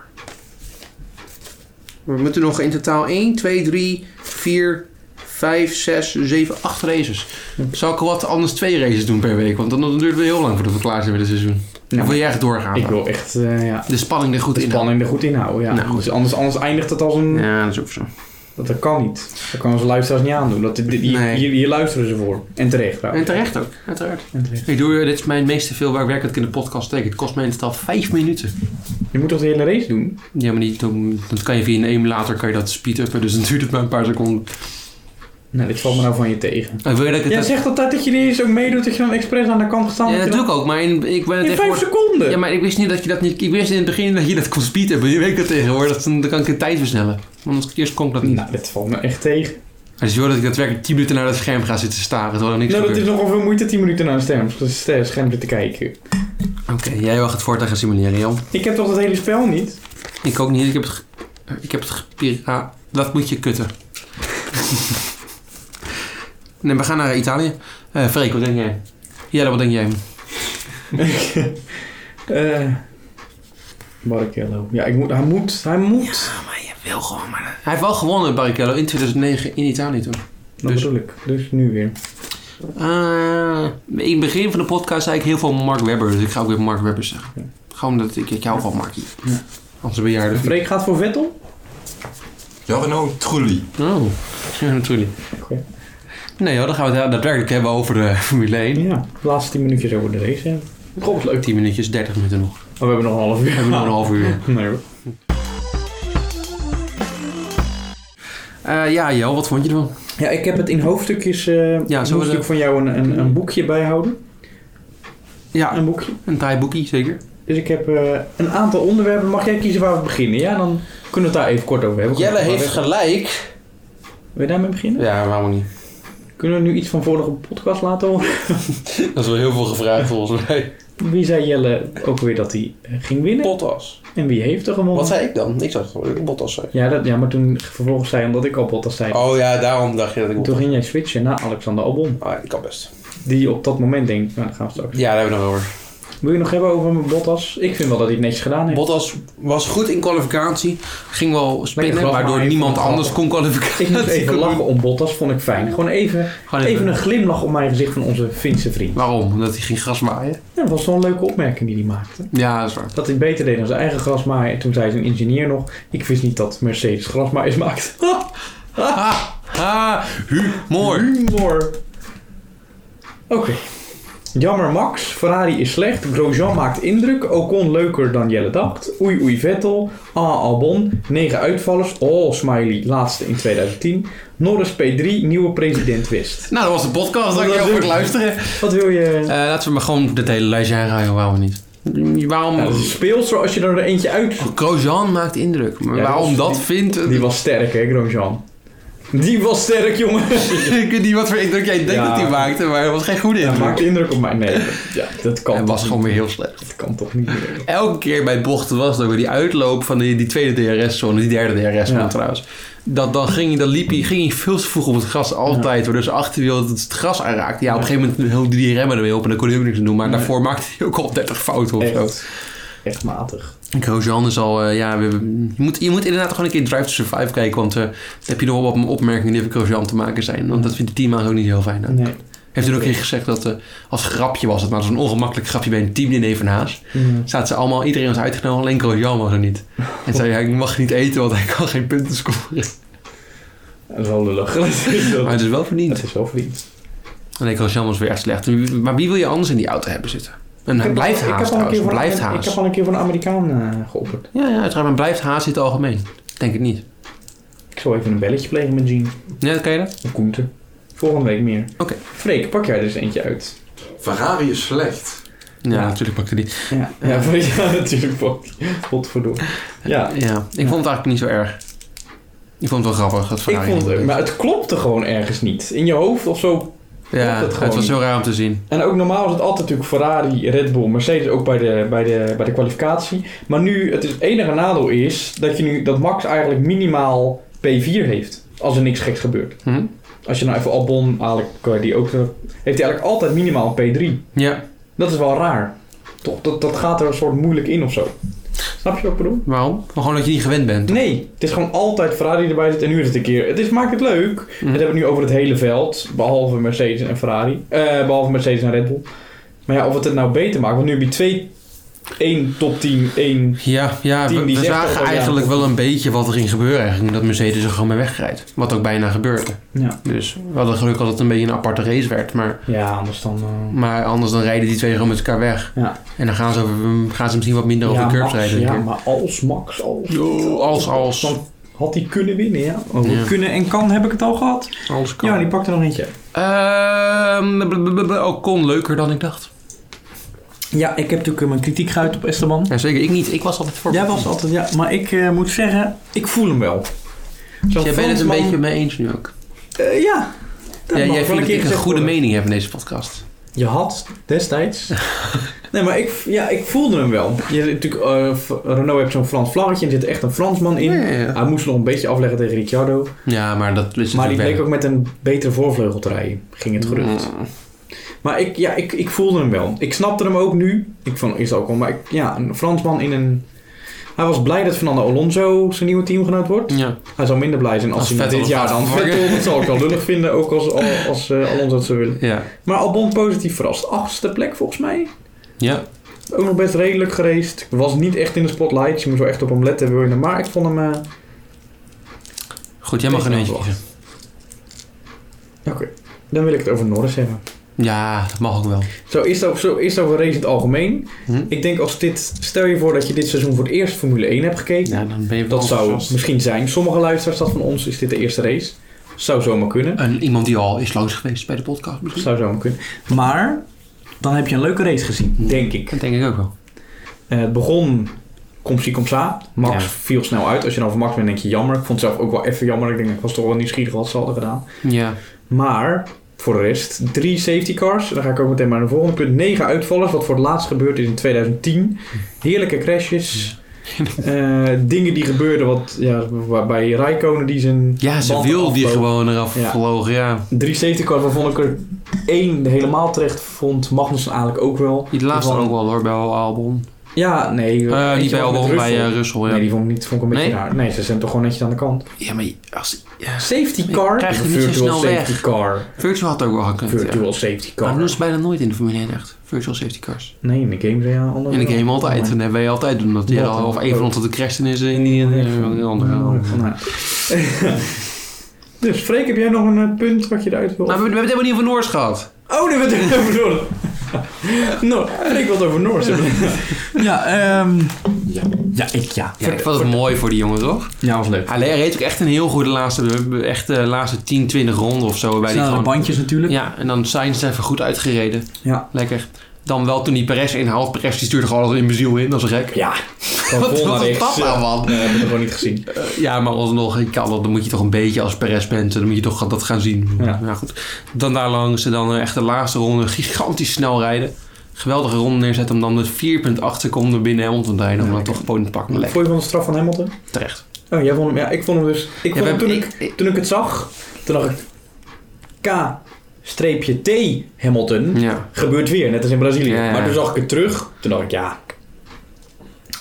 A: We moeten nog in totaal 1, 2, 3, 4, 5, 6, 7, 8 races. Zou ik wat anders twee races doen per week? Want dan dan duurt het weer heel lang voordat we klaar zijn met het seizoen. of wil jij echt doorgaan?
C: Ik wil echt, eh, ja.
A: De spanning er goed
C: De
A: in.
C: spanning er goed in houden, ja.
A: Nou, goed.
C: Dus anders, anders eindigt het als een...
A: houden. Ja, dat is ook zo.
C: Dat, dat kan niet. Dat kan onze luisteraars niet aandoen. Dat, die, die-
A: Nee.
C: hier, hier luisteren ze voor. En terecht
A: En
C: trouwens.
A: terecht ook, uiteraard.
C: En terecht.
A: Ik doe, dit is mijn meeste veel waar ik werk dat ik in de podcast steek. Het kost mij in totaal 5 minuten.
C: Je moet toch de hele race doen?
A: Ja, maar niet, dan dat kan je via een emulator kan je dat speed-uppen. Dus dan duurt het maar een paar seconden.
C: Nee, dit valt me nou van je tegen.
A: En wil je dat ik het
C: Jij zegt altijd dat je die race ook meedoet, dat je dan expres aan de kant gestaan
A: Ja,
C: hebt.
A: dat doe ik ook, maar in, ik ben het
C: In vijf
A: tegenwoordig...
C: seconden!
A: Ja, maar ik wist niet dat je dat niet... Ik wist in het begin dat je dat kon speeden, maar nu weet ik dat tegenwoordig. Dan dan kan ik de tijd versnellen. Want eerst kon ik dat niet.
C: Nou, dit valt me echt tegen.
A: Dus je hoort dat ik daadwerkelijk 10 minuten naar dat scherm ga zitten staren, terwijl er niks
C: Nou, dat is
A: gebeurt.
C: nogal veel moeite 10 minuten naar een scherm, ster- scherm te kijken.
A: Oké, jij mag het voortaan gaan simuleren, Jan.
C: Ik heb toch dat hele spel niet? <laughs>
A: Ik ook niet, ik heb het... ge- Ik heb het... gepira- Ah, dat moet je kutten. <laughs> nee, we gaan naar Italië. Eh Freek, wat denk jij? Ja, wat denk jij?
C: Eh Barrichello. Ja, ik moet, hij moet. Hij moet.
A: maar je wil gewoon maar... Hij heeft wel gewonnen, Barrichello, in 2009 in Italië toen.
C: dat
A: dus-
C: bedoel ik. Dus nu weer.
A: Eh, in het begin van de podcast zei ik heel veel Mark Webber, dus ik ga ook weer Mark Webber zeggen. Gewoon omdat ik, ik hou van Markie.
C: Ja.
A: Anders ben jij er.
C: Freek gaat voor Vettel.
B: Jarno Trulli.
A: Oh, ja, natuurlijk.
C: Oké.
A: Nee joh, dan gaan we het daadwerkelijk hebben over de Formule 1.
C: Ja, de laatste 10 minuutjes over de race. hè. Goh, wat leuk.
A: 10 minuutjes, 30 minuten nog. <laughs>
C: Oh, we hebben nog een half uur.
A: Oh, We hebben nog een half uur.
C: Nee hoor.
A: Eh, ja, Jo, wat vond je ervan?
C: Ja, ik heb het in hoofdstukjes. eh
A: Ja,
C: ja,
A: zo
C: zo hoofdstuk
A: de-
C: van jou een, een, een boekje bijhouden.
A: Ja, Ah.
C: Een boekje.
A: een taai boekie, zeker.
C: Dus ik heb eh, een aantal onderwerpen. Mag jij kiezen waar we beginnen? Ja, dan kunnen we het daar even kort over hebben.
A: gelijk.
C: Wil je daarmee beginnen?
A: Ja, waarom niet?
C: Kunnen we nu iets van vorige podcast laten horen?
A: <laughs> Dat is wel heel veel gevraagd <laughs> volgens mij.
C: Wie zei Jelle ook weer dat hij eh, ging winnen?
A: Bottas.
C: En wie heeft er gewonnen?
A: zei ik dan? Ik zag dat ik Bottas zei.
C: Ja, dat, ja, maar toen vervolgens zei hij omdat ik al Bottas zei.
A: Oh ja, daarom dacht je dat ik
C: En Toen ging jij switchen naar Alexander Albon.
A: Ah, ik kan best.
C: Die op dat moment denkt, nou, daar gaan we straks.
A: Ja, daar hebben we nog over.
C: Wil je nog hebben over mijn Bottas? Ik vind wel dat hij het netjes gedaan heeft.
A: Bottas was goed in kwalificatie. Ging wel spinnen,
C: glas,
A: waardoor
C: maar hij
A: niemand
C: vond het
A: anders kon kwalificatie. <laughs>
C: Ik moest even lachen om Bottas, vond ik fijn. Gewoon even,
A: Gewoon even-
C: even een glimlach op mijn gezicht van onze Finse vriend.
A: Waarom? Omdat hij ging gras maaien?
C: Ja, dat was zo'n leuke opmerking die hij maakte.
A: Ja, dat is waar.
C: Dat hij beter deed dan zijn eigen grasmaaier. En toen zei zijn ingenieur nog, ik wist niet dat Mercedes grasmaaiers maakt.
A: Ha! Ha! Ah, Humor!
C: Humor. Oké. Jammer Max, Ferrari is slecht, Grosjean maakt indruk, Ocon leuker dan Jelle dacht, oei oei Vettel, ah Albon, 9 uitvallers, oh Smiley, laatste in 2010, Norris P3, nieuwe president West.
A: Nou, dat was de podcast.
C: Dat
A: Dankjewel
C: was
A: voor het
C: leuk.
A: luisteren.
C: Wat wil
A: Eh,
C: je?
A: laten we maar gewoon dit hele lijstje aangaan, waarom niet? Waarom...
C: Nou, speelster als je er eentje uit...
A: Grosjean maakt indruk. Maar
C: Ja, dat
A: waarom
C: was-
A: dat
C: die-
A: vindt...
C: Die was sterk hè, Grosjean. Die was sterk jongen.
A: <laughs> ik weet niet wat voor indruk jij denkt
C: Ja.
A: dat hij maakte, maar het was geen goede
C: Hij
A: indruk.
C: maakt indruk op mij. Nee, ja, dat kan
A: Hij
C: toch
A: was gewoon
C: niet.
A: weer heel slecht.
C: Dat kan toch niet meer.
A: Elke keer bij bochten was dat weer die uitloop van die, die tweede DRS-zone, die derde DRS-zone
C: Ja.
A: trouwens. Dat, dan ging hij, dan liep hij, ging hij veel te vroeg op het gras altijd, Dus waardoor zijn achterwiel het gras aanraakte. Ja, op een gegeven moment hield hij die remmen ermee op en dan kon hij ook niks aan doen, maar
C: Nee.
A: daarvoor maakte hij ook al 30 fouten of zo.
C: Echt, echt matig.
A: Grosjean is al, eh, ja, we, hebben- je, moet, je moet inderdaad gewoon een keer Drive to Survive kijken, want eh, dan heb je nog wel wat opmerkingen die met Grosjean te maken zijn, want dat vindt het team eigenlijk ook niet heel fijn. aan.
C: Nee.
A: Heeft toen ook een keer gezegd dat eh, als grapje was het, maar dat was een ongemakkelijk grapje bij een team in Evenhaas. Zaten ze allemaal, iedereen was uitgenodigd, alleen Grosjean was er niet. En zei hij, ik mag niet eten, want hij kan geen punten scoren.
C: Dat is wel lullig. <laughs> Dat is wel-
A: Maar het is dus wel
C: Dat
A: verdiend.
C: is wel
A: Nou,
C: vriend.
A: Nee, Grosjean was weer echt slecht. Maar wie wil je anders in die auto hebben zitten? En hij blijft haast trouwens, hij blijft
C: Ik heb
A: haast.
C: al een keer voor een Amerikaan eh, geopperd.
A: Ja, ja, uiteraard, maar blijft haast in het algemeen. Denk het niet.
C: Ik zal even een belletje plegen met Jean.
A: Ja, dat kan je dat?
C: Of Koente. Volgende week meer.
A: Oké.
C: Freek, pak jij er eens eentje uit.
B: Ferrari is slecht.
A: Ja,
C: Ja.
A: natuurlijk pakte die.
C: Ja, ja, <laughs> voor- ja natuurlijk. Fuck. Godverdomme. Ja,
A: Ja, ik vond het eigenlijk niet zo erg. Ik vond het wel grappig. Dat
C: ik
A: Ferrari
C: vond het
A: niet deed.
C: leuk. Maar het klopte gewoon ergens niet. In je hoofd of zo.
A: Ja,
C: het
A: het,
C: gewoon
A: was
C: niet.
A: zo raar om te zien.
C: En ook normaal is het altijd natuurlijk Ferrari, Red Bull, Mercedes ook bij de, bij de, bij de kwalificatie. Maar nu, het, is, het enige nadeel is dat, je nu, dat Max eigenlijk minimaal P4 heeft. Als er niks geks gebeurt.
A: Hm?
C: Als je nou even Albon, Alec, eh, die ook, eh, heeft hij eigenlijk altijd minimaal P3.
A: Ja,
C: Dat is wel raar. Toch, dat, dat gaat er een soort moeilijk in of zo. Snap je wat ik bedoel?
A: waarom? Maar gewoon dat je niet gewend bent.
C: Nee, het is gewoon altijd Ferrari erbij zit en nu is het een keer. Het is, maakt het leuk. Dat
A: Mhm.
C: hebben we nu over het hele veld, behalve Mercedes en Ferrari. Eh, behalve Mercedes en Red Bull. Maar ja, of het het nou beter maakt, want nu heb je twee, één top 10, één.
A: Ja, ja we,
C: Team die
A: we
C: zegt
A: zagen
C: ook al, ja,
A: eigenlijk
C: dat-
A: wel een beetje wat er ging gebeuren eigenlijk. Dat Mercedes er gewoon mee wegrijdt. Wat ook bijna gebeurde.
C: Ja,
A: Dus we hadden geluk dat het een beetje een aparte race werd. Maar,
C: ja anders dan. eh,
A: maar anders dan rijden die twee gewoon met elkaar weg.
C: Ja.
A: En dan gaan ze, over, gaan ze misschien wat minder
C: ja,
A: over de curbs
C: Max,
A: rijden.
C: ja,
A: denk ik.
C: maar als Max, als.
A: Yo, als, als.
C: Dan had hij kunnen winnen, ja. Over
A: Ja.
C: kunnen en kan heb ik het al gehad.
A: Alles kan.
C: Ja, die pakt er nog eentje.
A: Ehm, bl- bl- bl- bl- Ocon leuker dan ik dacht.
C: Ja, ik heb natuurlijk eh, mijn kritiek geuit op Esteban.
A: Ja, zeker. Ik niet. Ik was altijd voor.
C: Jij was altijd, ja. Maar ik eh, moet zeggen, ik voel hem wel. Zo'n
A: Dus jij bent het een
C: Fransman-
A: beetje mee eens nu ook.
C: Eh, ja. Dat
A: Ja,
C: mag
A: jij
C: wel
A: vindt dat ik een
C: gezegd
A: goede
C: worden.
A: mening heb in deze podcast.
C: Je had
A: <laughs>
C: destijds. nee, maar ik, ja, ik voelde hem wel. Je, hebt natuurlijk, eh, F- Renault heeft zo'n Frans vlaggetje en er zit echt een Fransman in.
A: Ja, ja, ja.
C: Hij moest nog een beetje afleggen tegen Ricciardo.
A: Ja, maar dat is
C: Maar die
A: natuurlijk
C: bleek
A: wel-
C: ook met een betere voorvleugel te rijden, ging het gerucht.
A: Mm.
C: Maar ik, ja, ik, ik voelde hem wel. Ik snapte hem ook nu. Ik vond is ook wel, maar ik, ja, een Fransman in een... Hij was blij dat Fernando Alonso zijn nieuwe teamgenoot wordt.
A: Ja.
C: Hij zou minder blij zijn als,
A: Als
C: hij
A: Vettel
C: dit
A: het
C: jaar
A: gaat
C: dan
A: vervangen.
C: Vettel. Dat zou ik wel lullig vinden, ook als, als, als eh, Alonso dat zou willen.
A: Ja.
C: Maar Albon positief verrast. Achtste plek volgens mij.
A: Ja.
C: Ook nog best redelijk geraced. Was niet echt in de spotlight. dus Je moet wel echt op hem letten. Wil je hem- Maar ik vond hem... eh,
A: Goed, jij mag
C: Deze
A: een eentje
C: wel.
A: kiezen.
C: ja, Oké. Dan wil ik het over Norris hebben.
A: Ja, dat mag ook wel.
C: Zo is het, ook- zo is het over race in het algemeen.
A: Hm?
C: Ik denk als dit... Stel je voor dat je dit seizoen voor het eerst Formule 1 hebt gekeken.
A: Ja, dan ben je wel
C: dat zou
A: enthousiast.
C: misschien zijn. Sommige luisteraars dat van ons is dit de eerste race. Zou zomaar kunnen.
A: En iemand die al is langs geweest bij de podcast misschien.
C: Zou zomaar kunnen. Maar dan heb je een leuke race gezien.
A: Hm.
C: Denk ik.
A: Dat denk ik ook wel.
C: Eh, het begon komstie komsa. Max
A: Ja.
C: viel snel uit. Als je dan van Max bent, denk je jammer. Ik vond het zelf ook wel even jammer. Ik denk, ik was toch wel nieuwsgierig wat ze hadden gedaan.
A: Ja.
C: Maar voor de rest, drie safety cars. Dan ga ik ook meteen maar naar de volgende punt. Negen uitvallers, wat voor het laatst gebeurd is in 2010. Heerlijke crashes. Eh, dingen die gebeurden wat, ja, waarbij Rijkonen die zijn
A: Ja, ze
C: banden
A: wil die
C: afboog.
A: gewoon eraf
C: Ja.
A: vlogen, ja.
C: Drie safety cars waarvan ik er één helemaal terecht vond. Magnussen eigenlijk ook wel.
A: Die laatste
C: Van-
A: ook wel hoor, bij Albon.
C: Ja, nee.
A: Eh,
C: weet
A: niet
C: je
A: bij
C: wel, met
A: Albon, bij
C: Russell.
A: eh, Russell, ja.
C: Nee, die vond ik, niet, vond ik een beetje
A: Nee?
C: raar. Nee, ze zijn toch gewoon netjes aan de kant.
A: Ja, maar als... Ja.
C: Safety
A: Je
C: car.
A: krijgt hem niet zo
C: virtual
A: snel
C: safety
A: weg.
C: car.
A: Virtual had ook wel gekund, ja.
C: Virtual safety
A: Maar
C: car.
A: dat doen ze bijna nooit in de Formule 1 echt. Virtual safety cars.
C: Nee, in de game zijn Oh, ja andere.
A: In de game altijd. En dat hebben wij altijd doen. Dat die
C: Wat
A: al-
C: een-
A: of een van ons dat de crash is in die en de andere.
C: Nou, nou. <laughs> Dus Freek, heb jij nog een eh, punt wat je eruit wil?
A: Nou, we, we hebben het helemaal niet over Noors gehad.
C: Oh, nee, we hebben het over <laughs> Noors. No, Freek wil het over Noors hebben.
A: <laughs>
D: Ja, ehm ja. ik ja.
A: Ja, ik vond het mooi voor die jongen, toch?
D: Ja, was leuk.
A: Hij reed ook echt een heel goede laatste, echt, eh, laatste 10, 20 ronden of zo. Bij die
D: Snelle
A: gewoon,
D: bandjes natuurlijk.
A: Ja, en dan zijn ze even goed uitgereden.
C: Ja.
A: Lekker. Dan wel toen die Perez inhaalt. Perez die stuurde gewoon al in beziel in, dat is gek.
C: Ja. Van
A: Wat,
C: vol naar
A: wat is
C: rechts.
A: dat nou, man?
C: Nee, heb ik nog gewoon niet gezien.
A: Eh, ja, maar alsnog, ik kan dat, dan moet je toch een beetje als Perez bent. Dan moet je toch dat gaan zien.
C: Ja.
A: Nou, goed. Dan daar langs en dan eh, echt de laatste ronde gigantisch snel rijden. Geweldige ronde neerzetten om dan met 4,8 seconden binnen Hamilton te rijden. om dan toch gewoon te pakken. Maar
C: Vond
A: Lekker,
C: je van de straf van Hamilton?
A: terecht.
C: Oh, jij vond hem, ja, ik vond hem dus. Ik vond
A: we
C: hem
A: hebben-
C: toen, ik,
A: ik- ik-
C: toen ik het zag, toen dacht ik. K-T Hamilton
A: Ja.
C: gebeurt weer, net als in Brazilië.
A: Hm. Ja, ja, ja.
C: Maar toen zag ik het terug, toen dacht ik ja.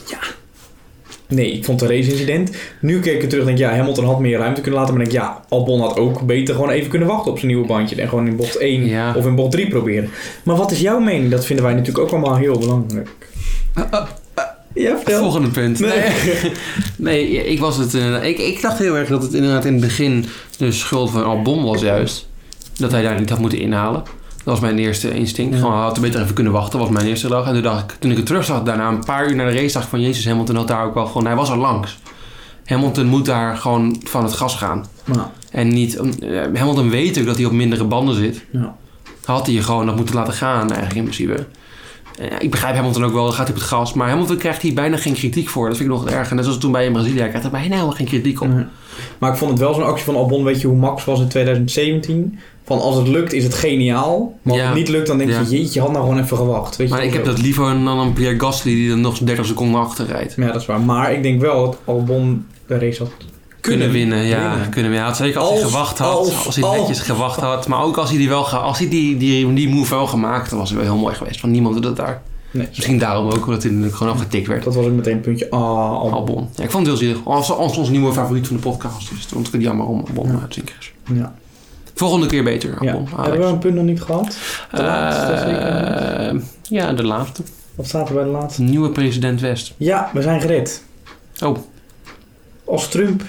C: Ja. Nee, ik vond het een race-incident. Nu keek ik het terug en denk ik, ja, Hamilton had meer ruimte kunnen laten. Maar denk ik, ja, Albon had ook beter gewoon even kunnen wachten op zijn nieuwe bandje. En gewoon in bocht 1
A: Ja.
C: of in bocht 3 proberen. Maar wat is jouw mening? Dat vinden wij natuurlijk ook allemaal heel belangrijk. ja, vertel.
A: Eh, Volgende punt.
C: <laughs>
A: Nee, ja, ik was het. eh, ik, ik dacht heel erg dat het inderdaad in het begin de schuld van Albon was juist. Dat hij daar niet had moeten inhalen. Dat was mijn eerste instinct. Gewoon, hij had er beter even kunnen wachten, was mijn eerste dag. En toen, dacht ik, toen ik het terug zag, daarna een paar uur naar de race, dacht ik van Jezus, Hamilton had daar ook wel gewoon. Hij was er langs. Hamilton moet daar gewoon van het gas gaan.
C: Nou,
A: En niet. eh, Hamilton weet ook dat hij op mindere banden zit.
C: Ja.
A: Had hij je gewoon dat moeten laten gaan, eigenlijk in principe. Eh, Ik begrijp Hamilton ook wel, dan gaat hij op het gas. Maar Hamilton krijgt hier bijna geen kritiek voor. Dat vind ik nog het erger. Net zoals toen bij in Brazilië, hij krijgt er bijna helemaal geen kritiek op.
C: Nee. Maar ik vond het wel zo'n actie van Albon. Weet je hoe Max was in 2017? Van als het lukt is het geniaal. Maar als
A: Ja.
C: het niet lukt dan denk je,
A: Ja.
C: jeetje, je had nou gewoon even gewacht. Weet je
A: Maar ik
C: wel
A: heb
C: zo.
A: dat liever dan een Pierre Gasly die er nog 30 seconden achter rijdt.
C: Ja, dat is waar. Maar ik denk wel dat Albon de race had
A: Kunnen winnen, ja.
C: winnen.
A: Kunnen winnen. Ja, zeker als, hij
C: Als-
A: gewacht had.
C: als-
A: Als, hij
C: als.
A: netjes gewacht had. Maar ook als hij die, wel ge- als hij die, die, die move wel gemaakt had, dan was het wel heel mooi geweest. Want niemand doet dat daar.
C: Nee.
A: Misschien daarom ook, omdat hij natuurlijk gewoon afgetikt werd.
C: Dat was ook meteen een puntje. Ah, Albon.
A: Albon. Ja, ik vond het heel zielig. Als, als onze nieuwe favoriet van de podcast is. Want ik het jammer om Albon uit te zien, Chris.
C: Ja.
A: Volgende keer beter,
C: Ja.
A: Albon. Alex.
C: Hebben we een punt nog niet gehad? de laatste, zeker
A: Eh, ja, de laatste.
C: Wat staat er bij de laatste?
A: Nieuwe president West.
C: Ja, we zijn gered.
A: Oh.
C: Als Trump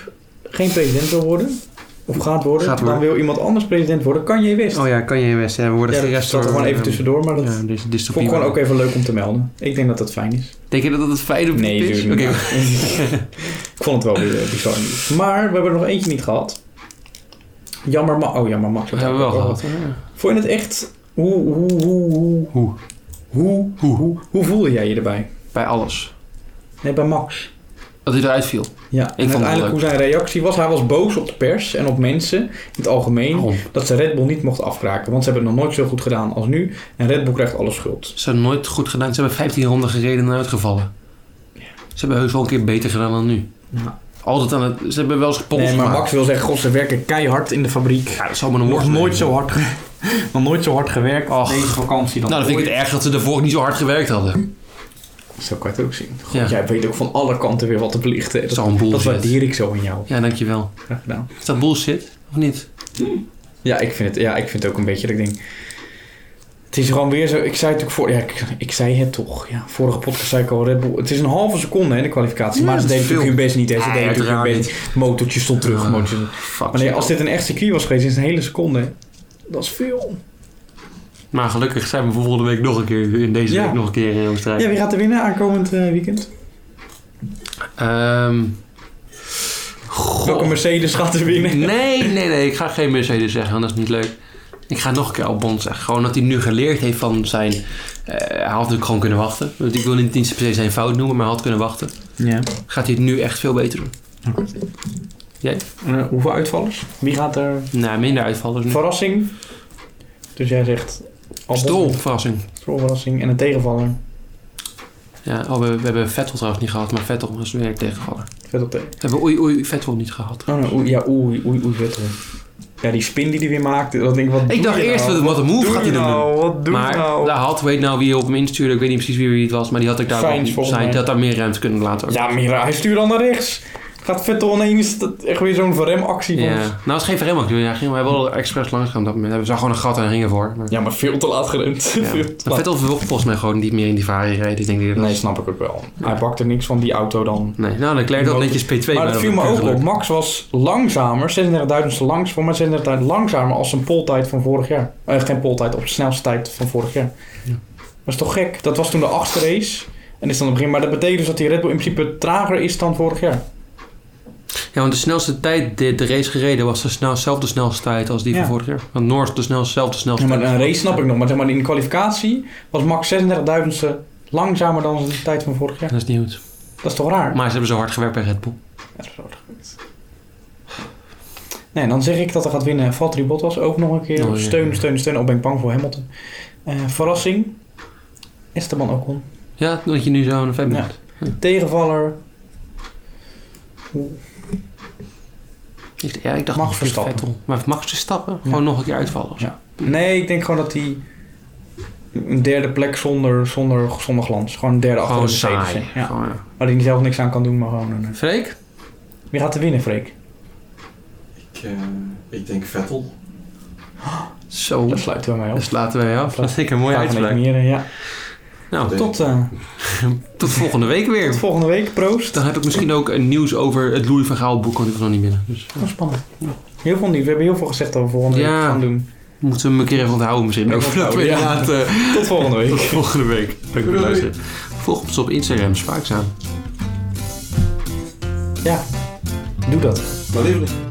C: geen president wil worden, of gaat worden,
A: Gaat Oh,
C: dan
A: worden.
C: wil iemand anders president worden. Kan je wist.
A: ja, kan je West. we
C: ja,
A: worden
C: dat staat er gewoon even tussendoor, maar dat
A: Ja, dus
C: vond
A: dystopie.
C: ik gewoon ook even leuk om te melden. Ik denk dat dat fijn is.
A: Denk je dat het fijn op
C: Nee,
A: nee, is?
C: natuurlijk
A: Oké.
C: niet. ik vond het wel weer eh, bizar nieuws. Maar we hebben er nog eentje niet gehad. Jammer, maar... Oh, jammer,
A: <laughs>
C: Max.
A: Dat hebben we wel
C: Oh.
A: gehad.
C: Vond je het echt... Hoe, hoe, hoe, hoe,
A: Hoe?
C: hoe,
A: Hoe?
C: hoe, hoe voelde jij je erbij?
A: Bij alles.
C: Nee, bij Max.
A: Dat hij eruit viel.
C: Ja, en
A: vond het
C: uiteindelijk
A: leuk.
C: hoe zijn reactie was. Hij was boos op de pers en op mensen in het algemeen
A: Waarom?
C: dat ze Red Bull niet mochten afkraken. Want ze hebben het nog nooit zo goed gedaan als nu. En Red Bull krijgt alle schuld.
A: Ze hebben nooit goed gedaan. Ze hebben 15 ronden gereden en uitgevallen. Ze hebben heus wel een keer beter gedaan dan nu.
C: Ja.
A: Altijd aan het... Ze hebben wel eens gepols
C: Nee, maar
A: gemaakt.
C: Max wil zeggen, god, ze werken keihard in de fabriek.
A: Ja, dat zou me een
C: Nog
A: woord
C: nooit zo hard.
D: <laughs> Nog nooit zo hard gewerkt als deze vakantie dan.
A: Nou, dan vind ik het erg dat ze daarvoor ook niet zo hard gewerkt hadden.
C: Zo kan je het ook zien. Goed,
A: Ja.
C: Jij weet ook van alle kanten weer wat te belichten. Dat,
A: Zo'n bullshit.
C: dat waardeer ik zo in jou.
A: Ja, dankjewel.
C: Graag gedaan.
A: Is dat bullshit? Of niet?
C: Ja, ik vind het, ja, ik vind het ook een beetje dat ik denk... Het is gewoon weer zo... Ik zei het ook voor... Ja, ik, ik zei het toch. Ja, vorige podcast zei ik al Red Bull. Het is een halve seconde hè, de kwalificatie. maar ze
A: dat
C: deden
A: is
C: natuurlijk hun best niet. Hè. Ze
A: Nee,
C: deden natuurlijk hun
A: uiteraard
C: best. Motortje stond terug.
A: Ah,
C: motortje.
A: Fuck.
C: Maar nee, als dit een echt circuit was geweest, is het een hele seconde. hè. Dat is veel.
A: Maar gelukkig zijn we voor volgende week nog een keer, in deze
C: Ja.
A: week nog een keer in Oostenrijk.
C: Ja, wie gaat er winnen aankomend eh, weekend?
A: Ehm, goh.
C: Welke Mercedes gaat er winnen?
A: Nee, nee, nee. Ik ga geen Mercedes zeggen, want dat is niet leuk. Ik ga nog een keer Albon zeggen. Gewoon dat hij nu geleerd heeft van zijn... eh, hij had natuurlijk gewoon kunnen wachten. Want ik wil niet eens per se zijn fout noemen, maar hij had kunnen wachten.
C: Ja.
A: Gaat hij het nu echt veel beter doen?
C: Eh, hoeveel uitvallers? Wie gaat er...
A: Nou, minder uitvallers nu.
C: Verrassing. Dus jij zegt... Albon.
A: Strol, verrassing.
C: Stroll, verrassing. En een tegenvaller.
A: Ja, oh, we, we hebben Vettel trouwens niet gehad, maar Vettel was weer tegengevallen.
C: Vet op tegen.
A: We hebben oei oei Vettel niet gehad.
C: Oh, nee, oei, ja, oei, oei, oei, vet hoor. Ja, die spin die hij weer maakte, dat denk ik, wat doe
A: Ik dacht
C: je
A: eerst,
C: nou?
A: wat, wat een move
C: doe
A: gaat
C: je
A: hij dan doen.
C: nou? Wat doe
A: Maar
C: je nou?
A: daar had, weet nou wie op hem instuurde, ik weet niet precies wie wie het was, maar die had ik daar
C: Sainz,
A: wel-
C: volgens
A: Sainz,
C: mij.
A: dat daar meer ruimte kunnen laten. ook.
C: Ja, Mira, hij stuurt dan naar rechts. Gaat Vettel ineens dat, echt weer zo'n verremactie van
A: Ja.
C: ons.
A: Nou, het is geen verremming. Ja, ging, we hebben wel expres langs gaan op dat moment. We zagen gewoon een gat en gingen voor. Maar,
C: Ja, maar veel te laat geremd. <laughs>
A: ja.
C: Veel te
A: Maar
C: laat.
A: Vettel vervolgens volgens mij gewoon niet meer in die Ferrari reed. Ik denk dat hij dat-
C: Nee, snap ik ook wel.
A: Ja.
C: Hij pakte niks van die auto dan.
A: Nee, nou, dan dat netjes P2.
C: maar dat viel me ook op. Max was langzamer, 36.000ste langs, voor mij 36.000 langzamer als zijn poltijd van vorig jaar. Eh, geen poltijd, op de snelste tijd van vorig jaar.
A: Ja.
C: Dat is toch gek? Dat was toen de achtste race. En is dan het begin, maar dat betekent dus dat die Red Bull in principe trager is dan vorig jaar.
A: Ja, want de snelste tijd die de race gereden was de snel, zelfde snelste tijd als die
C: Ja.
A: van vorig jaar. Want Norris de snelste, zelfde
C: Ja,
A: snelste
C: maar
A: tijd.
C: een race snap ik nog, maar, zeg maar in de kwalificatie was Max 36.000ste langzamer dan de tijd van vorig jaar.
A: Dat is niet goed.
C: Dat is toch raar?
A: Maar ze hebben zo hard gewerkt bij Red Bull.
C: Ja, dat is wel goed. Nee, dan zeg ik dat er gaat winnen Valtteri Bottas ook nog een keer.
A: Oh, ja.
C: Steun, steun, steun. Al ben ik bang voor Hamilton. Eh, verrassing. Esteban Ocon.
A: Ja, dat je nu zo een fan
C: Ja.
A: bent.
C: Tegenvaller.
A: Ik, ja, ik dacht nog
C: Max
A: een keer
C: Verstappen.
A: Vettel. Maar Max te stappen? Gewoon nog een keer uitvallen. of zo.
C: Ja. Nee, ik denk gewoon dat hij een derde plek zonder, zonder, zonder glans. Gewoon een derde achter
A: Gewoon
C: de Mercedes.
A: saai.
C: hè. Ja.
A: Gewoon, ja.
C: Waar hij zelf niks aan kan doen, maar gewoon... een, eh.
A: Freek?
C: Wie gaat er winnen, Freek?
B: Ik, eh, ik denk Vettel.
A: Zo.
C: Dat sluiten we mee op.
A: Dat laten wij af. Dat vind ik een mooie
C: Graag een
A: uitspraak.
C: beetje meer, eh, ja.
A: Nou,
C: Tot, eh,
A: tot volgende week weer.
C: tot volgende week. Proost.
A: Dan heb ik misschien ook een nieuws over het Louis van Gaal boek, want ik was nog niet binnen. Dus
C: Oh, spannend. Heel veel nieuws. We hebben heel veel gezegd over volgende week
A: Ja.
C: gaan doen.
A: we moeten hem een keer even onthouden misschien.
C: Even
A: Voordat we
C: onthouden,
A: inderdaad, eh,
C: Tot volgende
A: tot
C: week.
A: volgende week. Dank voor het
B: Doei.
A: luisteren. Volg ons op Instagram, Spaakzaam.
C: Ja, doe dat.
B: Maar liever niet.